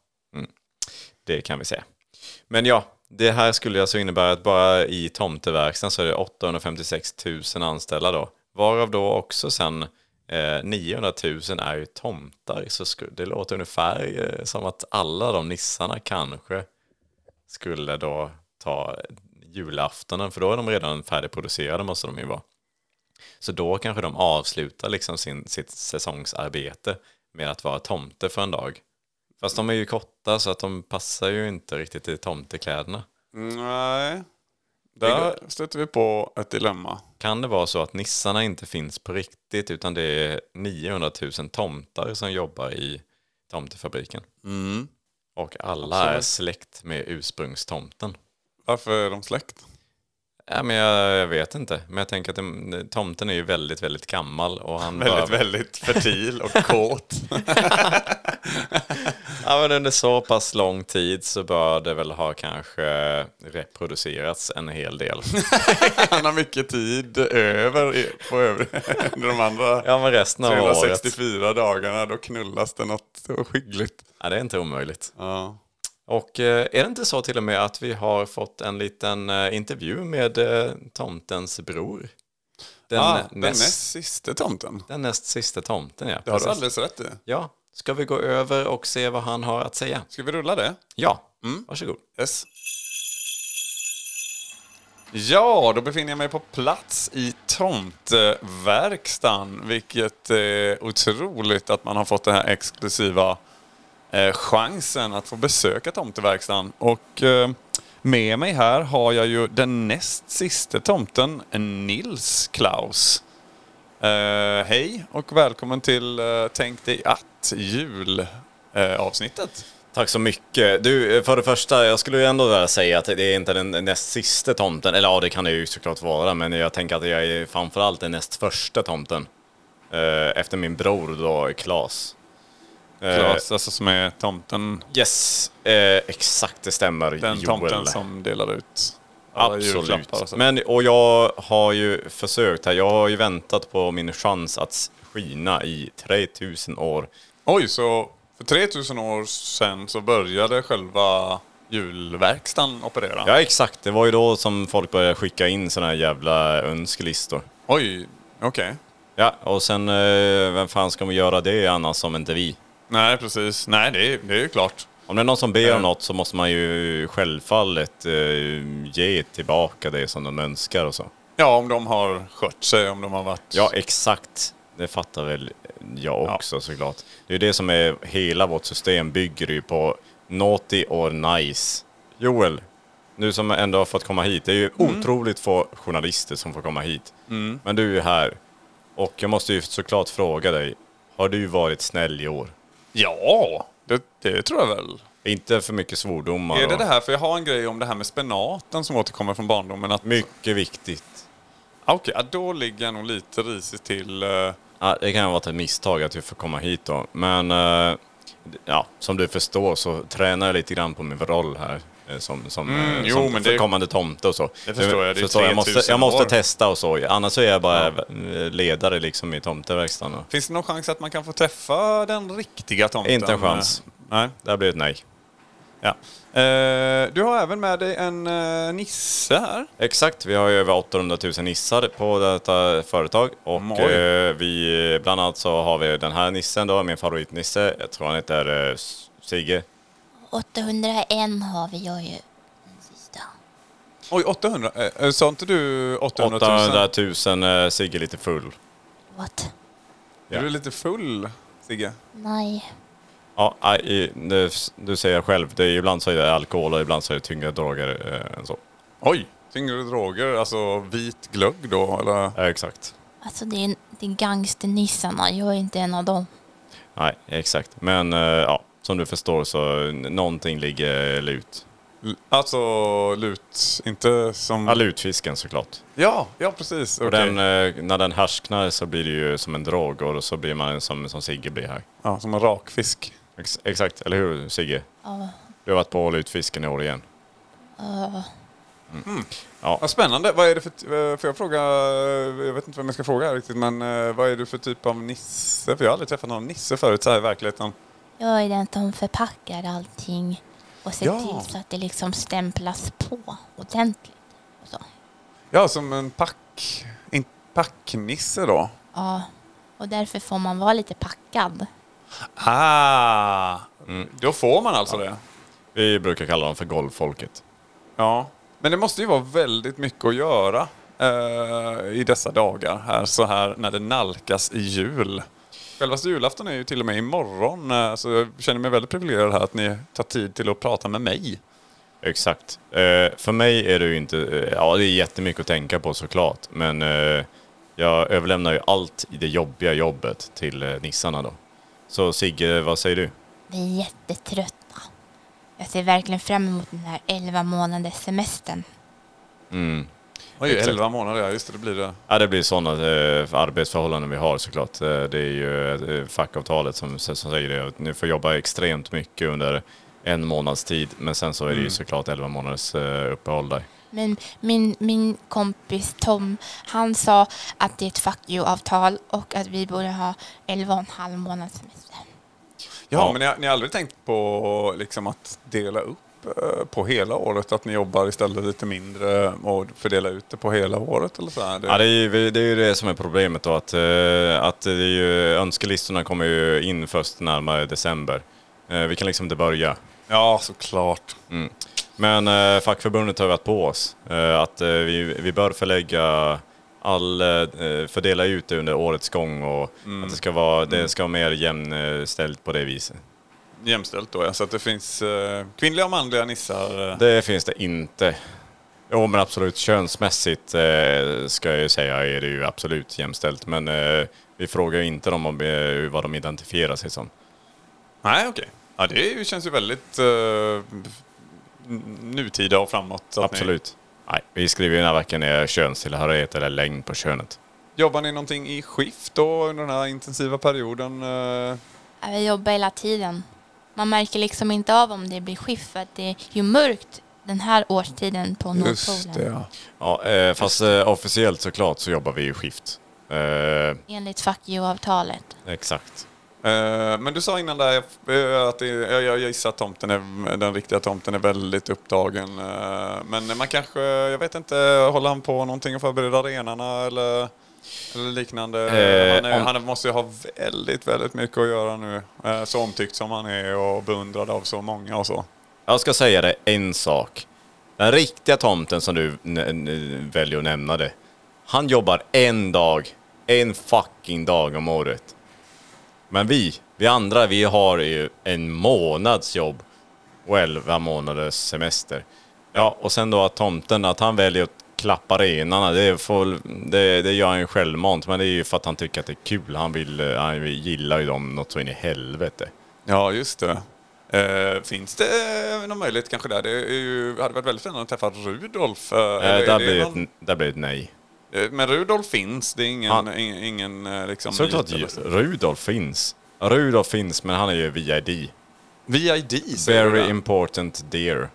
Det kan vi säga. Men ja, det här skulle alltså innebära att bara i tomteverkstan så är det 856 000 anställda då. Varav då också sen eh, 900 000 är ju tomtar. Så sku- det låter ungefär eh, som att alla de nissarna kanske skulle då ta julaftonen. För då är de redan färdigproducerade måste de ju vara. Så då kanske de avslutar liksom sin, sitt säsongsarbete med att vara tomte för en dag. Fast de är ju korta så att de passar ju inte riktigt i tomtekläderna.
Nej. Där stöter vi på ett dilemma.
Kan det vara så att nissarna inte finns på riktigt utan det är 900 000 tomtar som jobbar i tomtefabriken?
Mm.
Och alla är
Absolut.
släkt med ursprungstomten.
Varför är de släkt?
Ja, men jag, jag vet inte, men jag tänker att den, tomten är ju väldigt, väldigt gammal och han bara-
Väldigt, väldigt fertil och kåt.
Ja, men under så pass lång tid så bör det väl ha kanske reproducerats en hel del.
Han har mycket tid över i- på övriga, under de andra
Ja, men resten av året.
364 dagarna. Då knullas det något skickligt.
Ja, det är inte omöjligt.
Ja.
Och eh, är det inte så till och med att vi har fått en liten eh, intervju med eh, tomtens bror? Den,
ah,
näst,
den näst sista tomten.
den näst sista tomten, ja.
Det har du
precis.
alldeles rätt i.
Ja, ska vi gå över och se vad han har att säga?
Ska vi rulla det?
Ja,
Mm.
varsågod.
Yes. Ja, då befinner jag mig på plats i tomteverkstan. Vilket är otroligt att man har fått den här exklusiva eh, chansen att få besöka tomteverkstan. Och eh, med mig här har jag ju den näst sista tomten, Nils Klaus. Eh, hej och välkommen till eh, Tänk dig att eh, jul-avsnittet.
Tack så mycket. Du, eh, för det första, jag skulle ju ändå vilja säga att det är inte den näst sista tomten. Eller ja, det kan det ju såklart vara, men jag tänker att jag är framförallt den näst första tomten. Eh, Efter min bror då, Klas. Eh,
Klas, alltså som är tomten.
Yes, eh, exakt det stämmer.
Den
Joel.
tomten som delar ut alla
Absolut.
julklappar och så.
Men, och jag har ju försökt här. Jag har ju väntat på min chans att skina i 3000 år.
Oj, så för 3000 år sedan så började själva julverkstan operera?
Ja, exakt. Det var ju då som folk började skicka in såna här jävla önskelistor.
Oj, okej.
Ja, och sen eh, vem fan ska man göra det annars om inte vi?
Nej, precis. Nej, det är, det är ju klart.
Om det är någon som ber
Ja.
om något så måste man ju självfallet eh, ge tillbaka det som de önskar och så.
Ja, om de har skött sig, om de har varit...
Ja, exakt. Det fattar väl jag
Ja.
också såklart. Det är ju det som är hela vårt system bygger ju på naughty or nice. Joel, nu som ändå har fått komma hit. Det är ju
Mm.
otroligt få journalister som får komma hit. Men du är ju här. Och jag måste ju såklart fråga dig. Har du varit snäll i år?
ja det, det tror jag väl.
Inte för mycket svordomar.
Är det
och-
det här? För jag har en grej om det här med spenaten som återkommer från barndomen. Att,
Mycket viktigt.
Ah, Okej, ja, då ligger jag nog lite risigt till. eh,
Ja, det kan ha varit ett misstag att vi får komma hit då. Men eh, ja, som du förstår så tränar jag lite grann på min roll här. eh, Som, som, eh,
Mm, jo,
som
men
för
det-
kommande tomte och så.
Det förstår jag, det är
Förstår, jag, måste,
3000
jag måste
år.
testa och så. Annars så är jag bara eh, ledare liksom i tomteverkstan. och-
Finns det någon chans att man kan få träffa den riktiga tomten?
Inte en chans.
Nej.
Där blir det ett nej.
Ja. Eh, du har även med dig en eh, nisse här.
Exakt, vi har ju över 800 000 nissar på detta företag. Och
Mm, Oj.
eh, vi, bland annat så har vi den här nissen då, min favoritnisse. Jag tror han heter eh, S- Sigge.
801 har vi, jag är ju den sista.
Oj, 800. Eh, eh, sa inte du 800 000?
800 000, eh, Sigge är lite full.
What?
ja.
Du är lite full, Sigge.
Nej.
Ja, nej, i- det- du säger själv, det är, ibland så är det alkohol och ibland så är det tyngre droger eh, än så.
Oj! Tyngre droger, alltså vit glögg då, eller?
Ja, exakt.
Alltså det är, det är gangsternissarna, jag är inte en av dem.
Nej, exakt. Men eh, ja, som du förstår så n- någonting ligger lut.
L- Alltså lut, inte
Ja,
som...
lutfisken såklart.
Ja, ja precis.
Och
okej.
den, eh, när den härsknar så blir det ju som en drog och så blir man som, som Sigge blir här.
Ja, som en rakfisk.
Ex exakt, eller hur Sigge?
Ja.
Du har varit på lutfisken i år igen.
Uh,
Vad spännande. Vad är det för... t- eh, Får jag fråga... eh, Jag vet inte vem jag ska fråga här riktigt, men eh, vad är du för typ av nisse? För jag har aldrig träffat någon nisse förut så här i verkligheten.
jag är den som förpackar allting Och se
Ja.
till så att det liksom stämplas på ordentligt. Och så.
Ja, som en pack... En packnisse då.
Ja. Och därför får man vara lite packad.
Ah! Då får man alltså det.
Vi brukar kalla dem för golvfolket.
Ja. Men det måste ju vara väldigt mycket att göra eh, i dessa dagar. Här, så här när det nalkas i jul. Självaste julafton är ju till och med imorgon. eh, Så jag känner mig väldigt privilegierad här att ni tar tid till att prata med mig.
Exakt. Eh, för mig är det ju inte, eh, ja det är jättemycket att tänka på såklart, men eh, jag överlämnar ju allt i det jobbiga jobbet till eh, nissarna då. Så Sigge, vad säger du?
Vi är jättetrötta. Jag ser verkligen fram emot den här 11 månaders semestern.
Oj,
Exakt.
11 månader, ja just det, det blir det.
Ja, det blir sådana eh, arbetsförhållanden vi har såklart. Eh, det är ju eh, fackavtalet som, som säger det. Ni får jobba extremt mycket under en månads tid, men sen så är det ju såklart 11 månaders eh, uppehåll där.
Men min, min kompis Tom, han sa att det är ett fuck you-avtal och att vi borde ha 11 och en halv månads semester.
Ja,
Ja.
men ni har, ni har aldrig tänkt på liksom, att dela upp eh, på hela året? Att ni jobbar istället lite mindre och fördelar ut det på hela året? Eller så här? Det,
Ja, det, är ju, det är ju det som är problemet då, att, eh, att det är ju, önskelistorna kommer ju in först närmare december. Eh, Vi kan liksom inte börja.
ja, såklart.
Men eh, fackförbundet har varit på oss eh, att eh, vi, vi bör förlägga all, eh, fördela ut det under årets gång och att det ska vara, det ska vara mer jämställt på det viset.
Jämställt då, ja. Så att det finns eh, kvinnliga och manliga nissar. eh.
Det finns det inte. Jo men absolut, könsmässigt eh, ska jag ju säga är det ju absolut jämställt. Men eh, vi frågar ju inte dem om eh, vad de identifierar sig som.
Nej, okej. Ja, det är ju- känns ju väldigt eh, n- nutida och framåt. att
Absolut. Nej, vi skriver ju den här veckan ner könstillhörighet eller längd på könet.
Ni, jobbar ni någonting i skift då under den här intensiva perioden? eh?
Ja, Vi jobbar hela tiden. Man märker liksom inte av om det blir skift för att det är ju mörkt den här årstiden på Nordpolen.
ja.
Ja, eh, fast eh, officiellt såklart så jobbar vi ju skift. Eh,
Enligt fuck you-avtalet.
exakt.
Eh, Men du sa innan där eh, att det, jag, jag gissar att tomten är, den riktiga tomten är väldigt upptagen. eh, Men man kanske, jag vet inte, håller han på någonting och förbereder arenorna eller, eller liknande?
Eh,
han, är,
om-
han måste ju ha väldigt, väldigt mycket att göra nu. eh, Så omtyckt som han är och beundrad av så många och så.
Jag ska säga dig en sak. Den riktiga tomten som du n- n- väljer att nämna det. Han jobbar en dag, en fucking dag om året. Men vi, vi andra, vi har ju en månads jobb och elva månaders semester. Ja, och sen då att tomten, att han väljer att klappa renarna, det, får, det, det gör han ju självmant. Men det är ju för att han tycker att det är kul. Han, vill, eh, han gillar ju dem något så in i helvete.
Ja, just det. Eh, finns det någon möjlighet kanske där? Det är ju, hade varit väldigt spännande att träffa Rudolf. eh, eller
Eh,
är
där,
det
blir det ett,
någon-
n- där blir det ett nej.
Eh, Men Rudolf finns, det är ingen,
Han-
ingen, ingen eh, liksom...
Såklart
myt eller
ju-
så.
Rudolf finns. Rudolf finns, men han är ju VID.
VID säger
Very
du där.
important dear.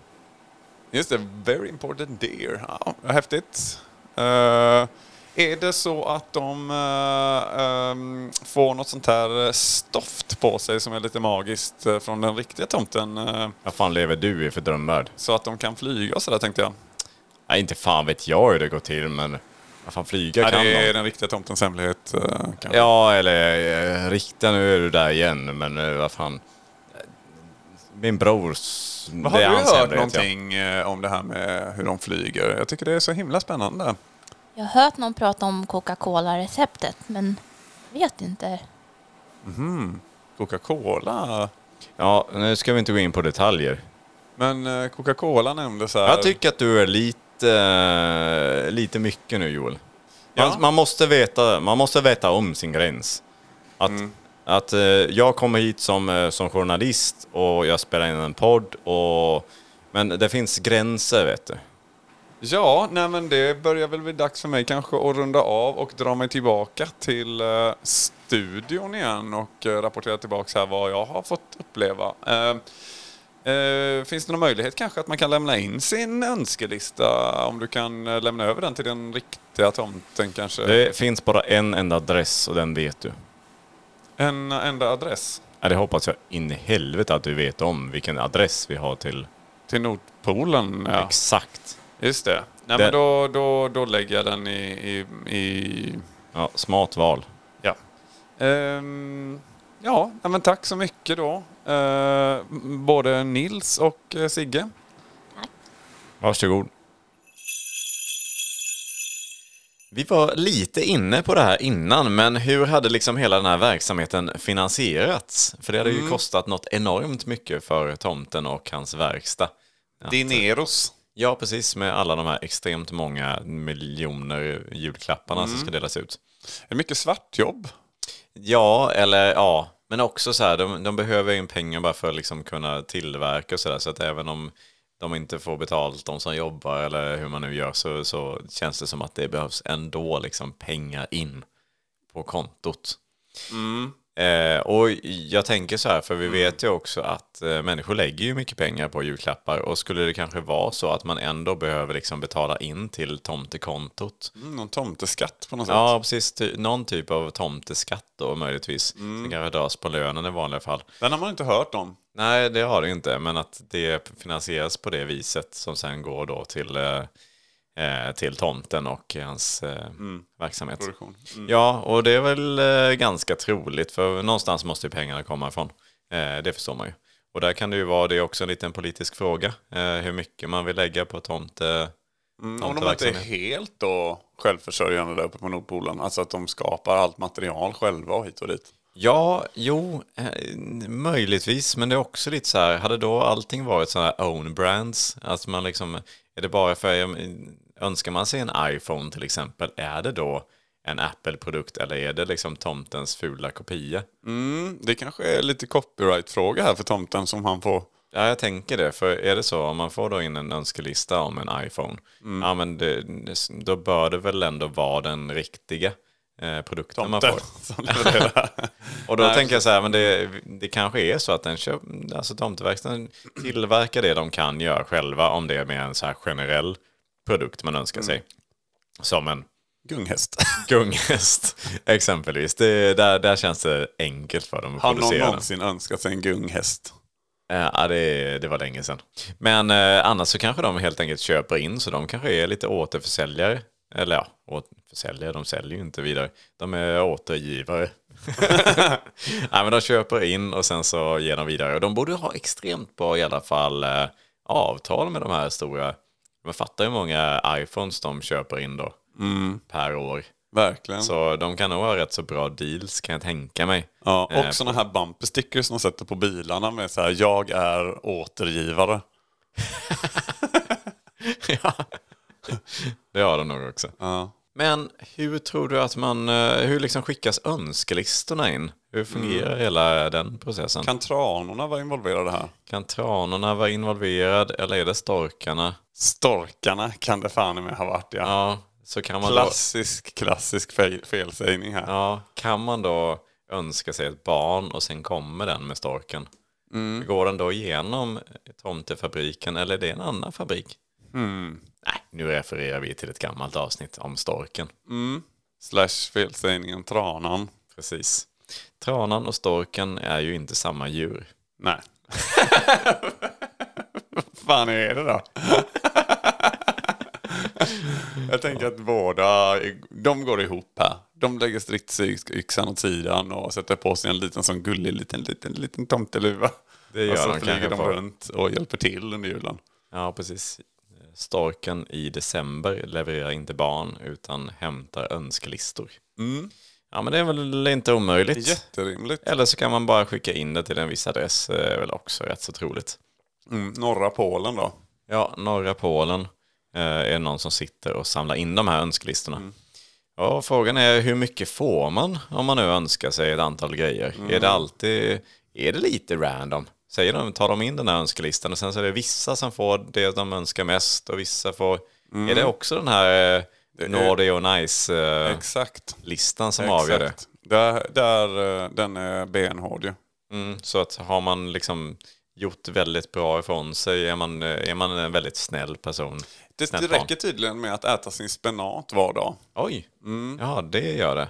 Just det, very important deer. Ja, häftigt. Eh, är det så att de eh, ehm, får något sånt här eh, stoft på sig som är lite magiskt eh, från den riktiga tomten? eh,
Vad fan lever du i för drömvärld?
så att de kan flyga och sådär tänkte jag.
Nej, inte fan vet jag hur det går till, men vad fan flyga
Ja,
kan
det är
de.
den riktiga tomtens hemlighet. eh, kanske.
Ja, eller eh, rikta nu är du där igen, men eh, vad fan. Min brors...
Men Har
det är
du
hans
hört
hemlighet, ja.
någonting eh, om det här med hur de flyger? Jag tycker det är så himla spännande.
Jag har hört någon prata om Coca-Cola-receptet men jag vet inte.
Coca-Cola.
Ja, nu ska vi inte gå in på detaljer.
Men eh, Coca-Cola nämndes här.
Jag tycker att du är lite, eh, lite mycket nu Joel. Man,
Ja.
man, måste veta, man måste veta om sin gräns. Att,
Mm.
att eh, jag kommer hit som, eh, som journalist och jag spelar in en podd och... Men det finns gränser vet du.
Ja, nej men det börjar väl bli dags för mig kanske att runda av och dra mig tillbaka till eh, studion igen och eh, rapportera tillbaka här vad jag har fått uppleva. Eh, eh, finns det någon möjlighet kanske att man kan lämna in sin önskelista? Om du kan eh, lämna över den till den riktiga tomten kanske?
Det finns bara en enda adress och den vet du.
En enda adress?
Ja, Det hoppas jag in i helvete att du vet om vilken adress vi har till
Till Nordpolen, ja.
Exakt.
Just det.
Den-
Nej, men då, då, då lägger jag den i... i, i
Ja, smart val.
ja. Ehm, ja, nej, men tack så mycket då. Ehm, både Nils och eh, Sigge.
Varsågod. Vi var lite inne på det här innan, men hur hade liksom hela den här verksamheten finansierats? För det hade ju kostat något enormt mycket för tomten och hans verkstad. Att-
e- Dineros.
Ja, precis, med alla de här extremt många miljoner julklapparna som ska delas ut.
Är det mycket svartjobb?
Ja, eller ja. Men också så här, de, de behöver in pengar bara för att liksom kunna tillverka och så där. Så att även om de inte får betalt, de som jobbar eller hur man nu gör, så, så känns det som att det behövs ändå liksom pengar in på kontot. Eh, och jag tänker så här, för vi vet ju också att eh, människor lägger ju mycket pengar på julklappar och skulle det kanske vara så att man ändå behöver liksom betala in till tomtekontot
Mm, någon tomteskatt på något sätt?
Ja, precis. Ty- någon typ av tomteskatt då möjligtvis.
Mm.
Som kanske dras på lönen i vanliga fall.
Den har man inte hört om.
Nej, det har det ju inte. Men att det finansieras på det viset som sen går då till, eh, eh, till tomten och hans eh, verksamhet.
Produktion. Mm.
Ja, och det är väl eh, ganska troligt. För någonstans måste ju pengarna komma ifrån. Eh, det förstår man ju. Och där kan det ju vara, det är också en liten politisk fråga. Eh, hur mycket man vill lägga på tomte...
Mm, om de inte är
tomteverksamhet.
helt då självförsörjande där uppe på Nordpolen. Alltså att de skapar allt material själva och hit och dit.
Ja, jo, eh, möjligtvis, men det är också lite så här, hade då allting varit sådana här own brands, alltså man liksom, är det bara för, eh, önskar man sig en iPhone till exempel, är det då en Apple-produkt eller är det liksom tomtens fula kopia?
Mm, det kanske är lite copyright-fråga här för tomten som han får.
Ja, jag tänker det, för är det så, om man får då in en önskelista om en iPhone, ja men det, då bör det väl ändå vara den riktiga eh, produkten man får.
Så det är väl det där.
Och då tänker jag så här, men det, det kanske är så att den köp, alltså tomteverkstan tillverkar det de kan göra själva om det är med en så här generell produkt man önskar
Mm.
sig. Som en
Gunghäst.
gunghäst exempelvis. Det, där, där känns det enkelt för dem att
Har någon
producera den.
någonsin önskat sig en gunghäst?
Eh, Ja, det, det var länge sedan. Men eh, annars så kanske de helt enkelt köper in, så de kanske är lite återförsäljare. Eller ja, återförsäljare, de säljer ju inte vidare. De är återgivare. Nej, men de köper in och sen så ger de vidare. Och de borde ha extremt bra i alla fall eh, avtal med de här stora. Man fattar hur många iPhones de köper in då per år.
Mm, Verkligen.
Så de kan nog ha rätt så bra deals kan jag tänka mig.
Ja,
Eh,
och sådana här bumper stickers som de sätter på bilarna med så här, jag är återgivare.
ja. Det har de nog också.
Ja.
Men hur tror du att man, eh, hur liksom skickas önskelistorna in? Hur fungerar hela den processen? Kan,
Mm. Kan tranorna vara involverade här?
tranorna vara involverad eller är det storkarna?
Storkarna kan det fan i mig ha varit ja.
Ja, så kan man då,
Klassisk, klassisk fel, felsägning här.
ja, kan man då önska sig ett barn och sen kommer den med storken?
Mm.
Går den då igenom tomtefabriken eller är det en annan fabrik?
Mm.
Nej, nu refererar vi till ett gammalt avsnitt om storken.
Slash felsägningen tranan.
Precis. Tranan och storken är ju inte samma djur.
Nej. Vad fan är det då? Jag tänker att båda, de går ihop här. De lägger stridsyxan åt sidan och sätter på sig en liten sån gullig liten, liten, liten tomteluva.
Det gör
och så
de
Alltså, flyger
kanske på.
de runt och hjälper till under julen.
Ja, precis. Storken i december levererar inte barn utan hämtar önskelistor. Ja, men det är väl inte
Det är
omöjligt.
Mm. Jätterimligt.
Eller så kan man bara skicka in det till en viss adress, eh, är väl också rätt så troligt.
Mm, norra Polen då.
Ja, norra Polen eh, är det någon som sitter och samlar in de här önskelistorna. Ja, frågan är hur mycket får man om man nu önskar sig ett antal grejer? Är det alltid, är det lite random? Säger de, tar de in den här önskelistan och sen så är det vissa som får det de önskar mest och vissa får, är det också den här eh, Nordic och Nice-listan
Exakt.
som avgör det?
Exakt. Där, där, eh, den är benhård ju.
Mm, så att har man liksom gjort väldigt bra ifrån sig, är man, eh, är man en väldigt snäll person?
Det,
snällt
det
barn?
räcker tydligen med att äta sin spenat var Mm, dag.
Oj, ja det gör det.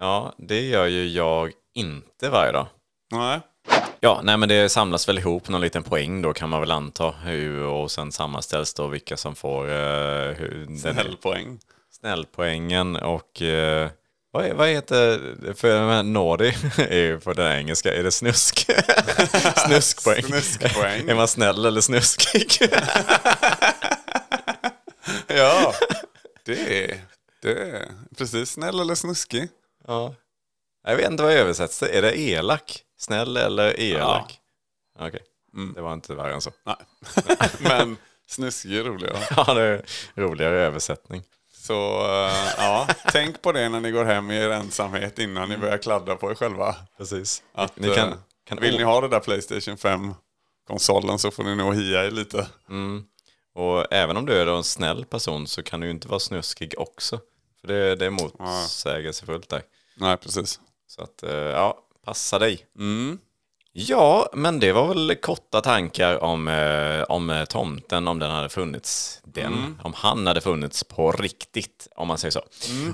Ja, det gör ju jag inte varje dag.
Nej.
Ja, nej men det samlas väl ihop någon liten poäng då kan man väl anta. Hur, och sen sammanställs då vilka som får eh, hur, den,
Snällpoäng.
snällpoängen och eh, vad, är, vad heter det? för jag menar, Naughty är ju på den engelska, är det snusk? Snuskpoäng.
Snuskpoäng.
är man snäll eller snuskig?
Ja, det är, det är precis snäll eller snuskig.
ja. Jag vet inte vad översätts Är det elak? Snäll eller elak? Okej, Mm, det var inte värre än så.
Nej, men snuskig är roligare.
Ja, det är en roligare översättning.
Så eh, ja, tänk på det när ni går hem i er ensamhet innan ni börjar kladda på er själva.
Precis.
Att,
ni kan,
eh,
kan
Vill ni ha det där Playstation 5-konsolen så får ni nog hia er lite.
Och även om du är då en snäll person så kan du ju inte vara snuskig också. För det, det är motsägelsefullt där.
Nej, precis. Mm.
Så att, eh, ja, passa dig. Ja, men det var väl korta tankar om, eh, om eh, tomten, om den hade funnits. Den, om han hade funnits på riktigt, om man säger så.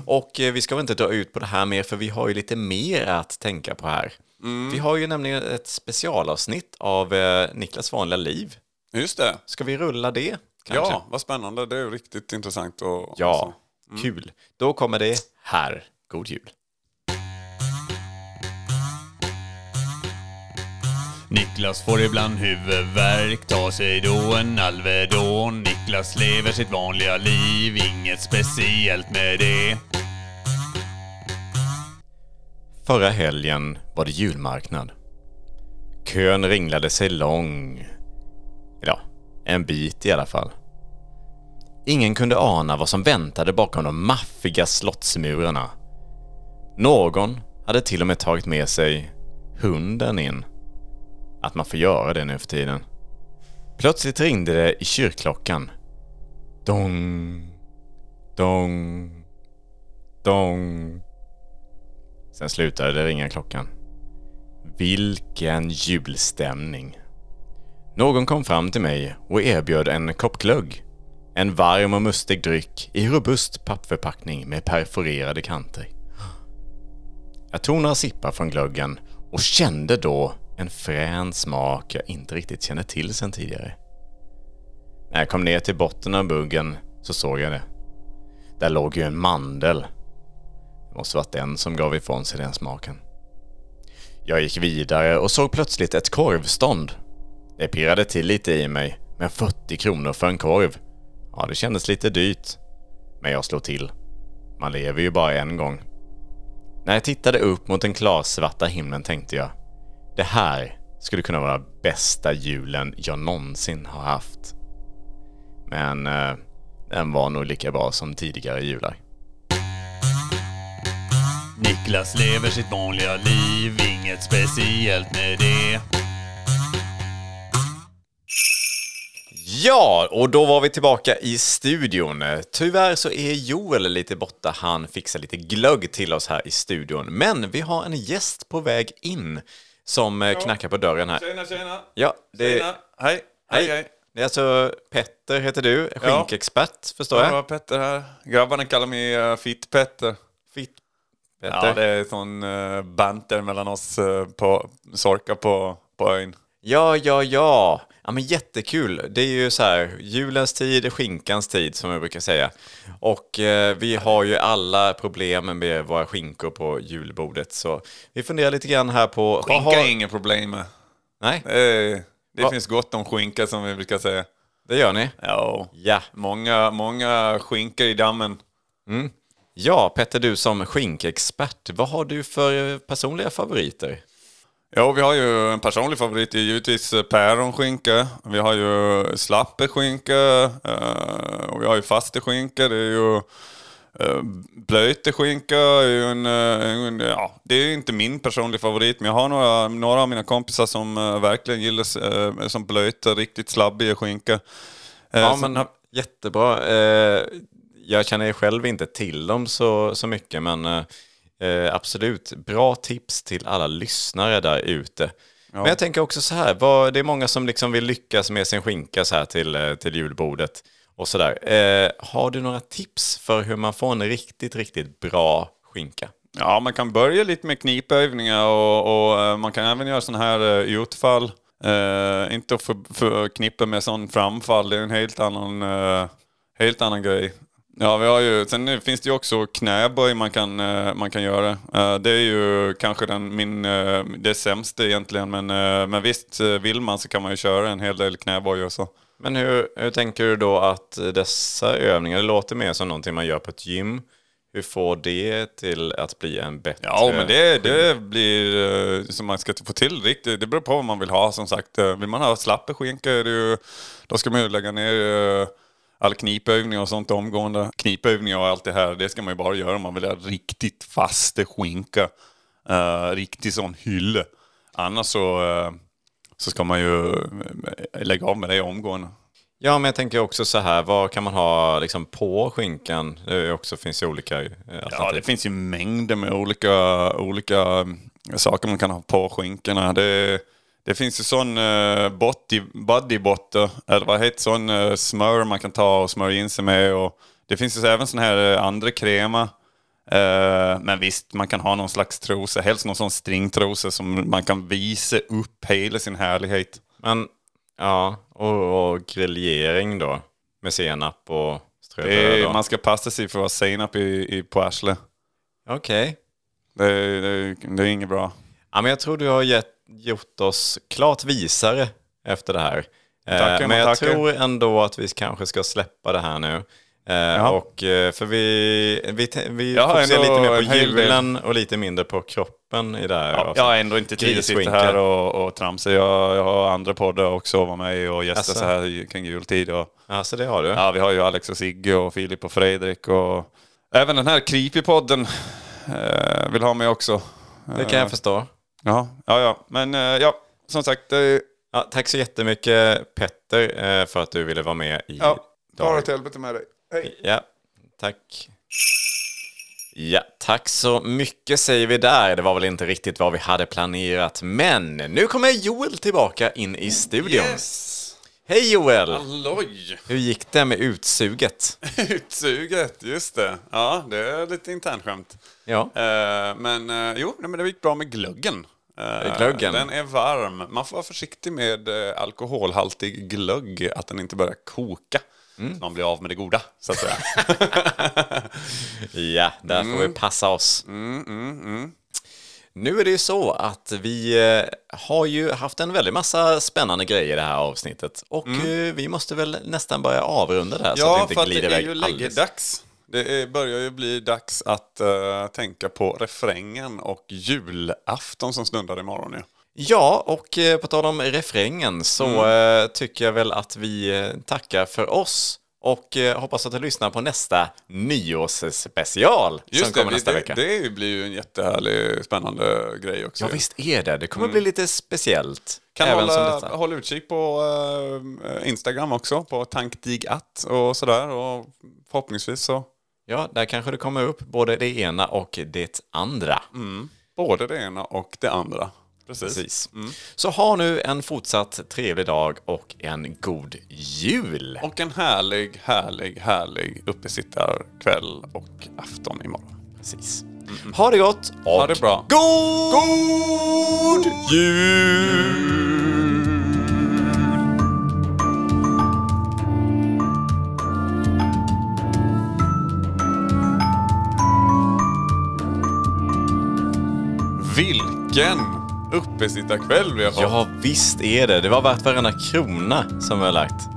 Och eh, vi ska väl inte dra ut på det här mer, för vi har ju lite mer att tänka på här. Vi har ju nämligen ett specialavsnitt av eh, Niklas vanliga liv.
Just det.
Ska vi rulla det? kanske?
Ja, vad spännande. Det är ju riktigt intressant. Och,
Ja, kul. Då kommer det här. God jul.
Niklas får ibland huvudvärk, tar sig då en Alvedon. Niklas lever sitt vanliga liv, inget speciellt med det.
Förra helgen var det julmarknad. Kön ringlade sig lång. Ja, en bit i alla fall. Ingen kunde ana vad som väntade bakom de maffiga slottsmurarna. Någon hade till och med tagit med sig hunden in. Att man får göra det nu för tiden. Plötsligt ringde det i kyrkklockan. Dong, dong, dong. Sen slutade det ringa klockan. Vilken julstämning. Någon kom fram till mig och erbjöd en kopp glögg. En varm och mustig dryck i robust pappförpackning med perforerade kanter. Jag tog några sippar från glöggen och kände då en frän smak jag inte riktigt kände till sedan tidigare. När jag kom ner till botten av buggen så såg jag det. Där låg ju en mandel det måste varit den som gav ifrån sig den smaken. Jag gick vidare och såg plötsligt ett korvstånd. Det pirrade till lite i mig, men 40 kronor för en korv. Ja, det kändes lite dyrt. Men jag slog till. Man lever ju bara en gång. När jag tittade upp mot den klarsvarta himlen tänkte jag, det här skulle kunna vara bästa julen jag någonsin har haft. Men eh, den var nog lika bra som tidigare jular.
Niklas lever sitt vanliga liv, inget speciellt med det.
Ja, och då var vi tillbaka i studion. Tyvärr så är Joel lite borta. Han fixar lite glögg till oss här i studion. Men vi har en gäst på väg in som eh, knackar på dörren här.
Tjena, tjena.
Ja, det,
tjena. Hej.
hej. det är alltså Petter heter du,
Ja.
skinkexpert förstår
Det
jag.
var Petter här. Grabbarna kallar mig uh, Fitt-Petter.
Fitt.
Ja,
Petter.
det är sån uh, banter mellan oss eh, på Sorka på, på ön.
Ja, ja, ja. Ja, men jättekul. Det är ju så här, julens tid är skinkans tid som jag brukar säga. Och eh, vi har ju alla problem med våra skinkor på julbordet. Så vi funderar lite grann här på... vad
Skinka
har-
är inget problem med.
Nej,
Eh, det
Va-
finns gott om skinka som vi brukar säga.
det gör ni.
Ja,
Ja.
många, många skinka i dammen.
Ja, Petter, du som skinkexpert, vad har du för eh, personliga favoriter?
Ja, vi har ju en personlig favorit det är givetvis eh, päronskinka. Vi har ju slappeskinka eh, och vi har ju fasteskinka. Det är ju eh, blöteskinka. är ju en, eh, en, ja, det är ju inte min personliga favorit, men jag har några, några av mina kompisar som eh, verkligen gillar eh, som blöta, riktigt slabbiga skinka. Eh,
Ja,
så-
men jättebra. Eh, jag känner ju själv inte till dem så, så mycket, men eh, eh, absolut. Bra tips till alla lyssnare där ute. Men jag tänker också så här, vad, det är många som liksom vill lyckas med sin skinka så här till, eh, till julbordet och sådär. Eh, har du några tips för hur man får en riktigt, riktigt bra skinka?
Ja, man kan börja lite med knipövningar och, och eh, man kan även göra sådana här eh, utfall. Eh, inte att för- förknippa med sån framfall, det är en helt annan, eh, helt annan grej. Ja, vi har ju, sen finns det ju också knäböj man kan, eh, man kan göra. Eh, det är ju kanske den, min, eh, det sämsta egentligen, men, eh, men visst eh, vill man så kan man ju köra en hel del knäböj och så.
Men hur, hur tänker du då att dessa övningar, det låter mer som någonting man gör på ett gym. Hur får det till att bli en bättre...
Ja, men det, det blir eh, som man ska få till riktigt. Det beror på vad man vill ha som sagt. Eh, Vill man ha slappa skinkor, det är ju- då ska man ju lägga ner eh, all knipövning och sånt omgående. Knipövningar och allt det här, det ska man ju bara göra om man vill ha riktigt fasta skinka. Uh, riktig sån hylle. Annars så, eh, så ska man ju eh, lägga av med det omgående.
Ja, men jag tänker också så här, vad kan man ha liksom på skinkan? Det är också, finns ju olika eh,
Ja, Alltså, det
alternativ.
finns ju mängder med olika, olika mm, saker man kan ha på skinkorna. Det, det finns ju sån uh, body, body butter, eller vad heter sån eh, smör man kan ta och smörja in sig med. Och det finns ju även sån här eh, andra krema. Eh, men visst, man kan ha någon slags trosa, helst någon sån stringtrosa som man kan visa upp hela sin härlighet.
Men, ja, och, och griljering då, med senap och
Det
ströbröd.
är,
och-
Eh, man ska passa sig för att ha senap i, i, på arslet.
Okej.
Det, är- det, är- det är inget bra.
Ja, men jag tror du har gett, gjort oss klart visare efter det här. Eh,
Tackar,
men jag
tackar.
tror ändå att vi kanske ska släppa det här nu. Eh, och, eh, för vi, vi, te- vi
Jag har
fokuserar
ändå
lite mer
en
på
hel del.
julen och lite mindre på kroppen i det här
Ja,
avsnittet.
jag har ändå inte tid att sitta här och, och tramsa. Jag, jag har andra poddar också att vara med i och gästa
Jaså?
så här i- kring jultid. Och,
Alltså det har du.
ja, vi har ju Alex och Sigge och Filip och Fredrik och även den här Creepy-podden eh, vill ha mig också. Eh,
det kan jag förstå.
Ja, ja, ja. men eh, ja, som sagt, det är
Ja, tack så jättemycket Petter eh, för att du ville vara med i
ja, bara
dag.
till helvete med dig.
Ja, tack. Ja, tack så mycket säger vi där. Det var väl inte riktigt vad vi hade planerat, men nu kommer Joel tillbaka in i studion. Hej Joel!
Halloj!
Hur gick det med utsuget?
Utsuget, just det. Ja, det är lite internskämt.
Ja,
Eh, men eh, jo, nej, men det gick bra med glöggen. Eh,
Glöggen?
Den är varm. Man får vara försiktig med eh, alkoholhaltig glögg, att den inte börjar koka.
Mm.
Så man blir av med det goda, så att säga. Alltså
ja där
Mm.
får vi passa oss. Nu är det ju så att vi eh, har ju haft en väldigt massa spännande grejer i det här avsnittet och
Mm.
eh, vi måste väl nästan börja avrunda det här så att det inte glider iväg alldeles.
dags. Det är, börjar ju bli dags att eh, tänka på refrängen och julafton som stundar imorgon. Ja.
Ja, och eh, på tal om refrängen så
Mm.
eh, tycker jag väl att vi eh, tackar för oss och eh, hoppas att du lyssnar på nästa nyårsspecial som kommer
vi-
nästa vecka.
Det, det blir ju en jättehärlig, spännande grej också.
Ja,
ju.
visst är det. Det kommer bli lite speciellt.
Mm. Kan
även som
hålla,
detta.
håll utkik på eh, Instagram också, på tankdigatt och sådär. Och förhoppningsvis så
Ja, där kanske det kommer upp både det ena och det andra.
Mm. både det ena och det andra. Precis.
Precis.
Mm.
Så ha nu en fortsatt trevlig dag och en god jul!
Och en härlig, härlig, härlig uppesittarkväll och afton imorgon.
Precis. Ha det gott och
Ha det bra.
god,
Vilken uppesittarkväll vi har fått.
Ja, visst är det. Det var värt varenda krona som vi har lagt.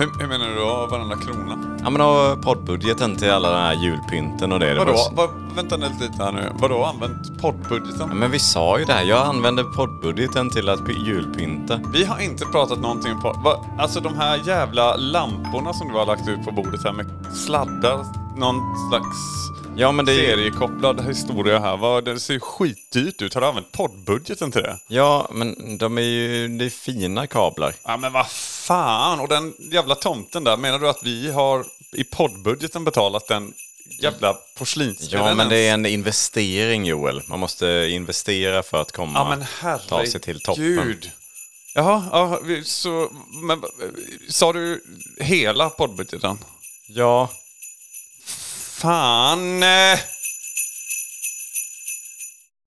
Hur, hur menar du då, varenda krona?
Ja, men och poddbudgeten till alla den här julpynten och det. det var
Vadå?
så-
Va, vänta nu lite här nu. Vadå använt poddbudgeten?
Ja, men vi sa ju det här. Jag använde poddbudgeten till att py- julpynta.
Vi har inte pratat någonting på... Va? Alltså de här jävla lamporna som du har lagt ut på bordet här med sladdar. Någon slags
Ja, men det är
seriekopplad historia här. Vad, det ser ju skitdyrt ut. Har du använt poddbudgeten till det?
Ja, men de är ju det är fina kablar.
Ja men vad fan! Och den jävla tomten där. Menar du att vi har i poddbudgeten betalat den jävla porslins...
Ja,
den
men det är
ens-
en investering, Joel. Man måste investera för att komma
Ja men
ta sig till toppen.
herregud. Jaha, ja, vi- så... Men, eh, sa du hela poddbudgeten?
Ja,
Fan! eh.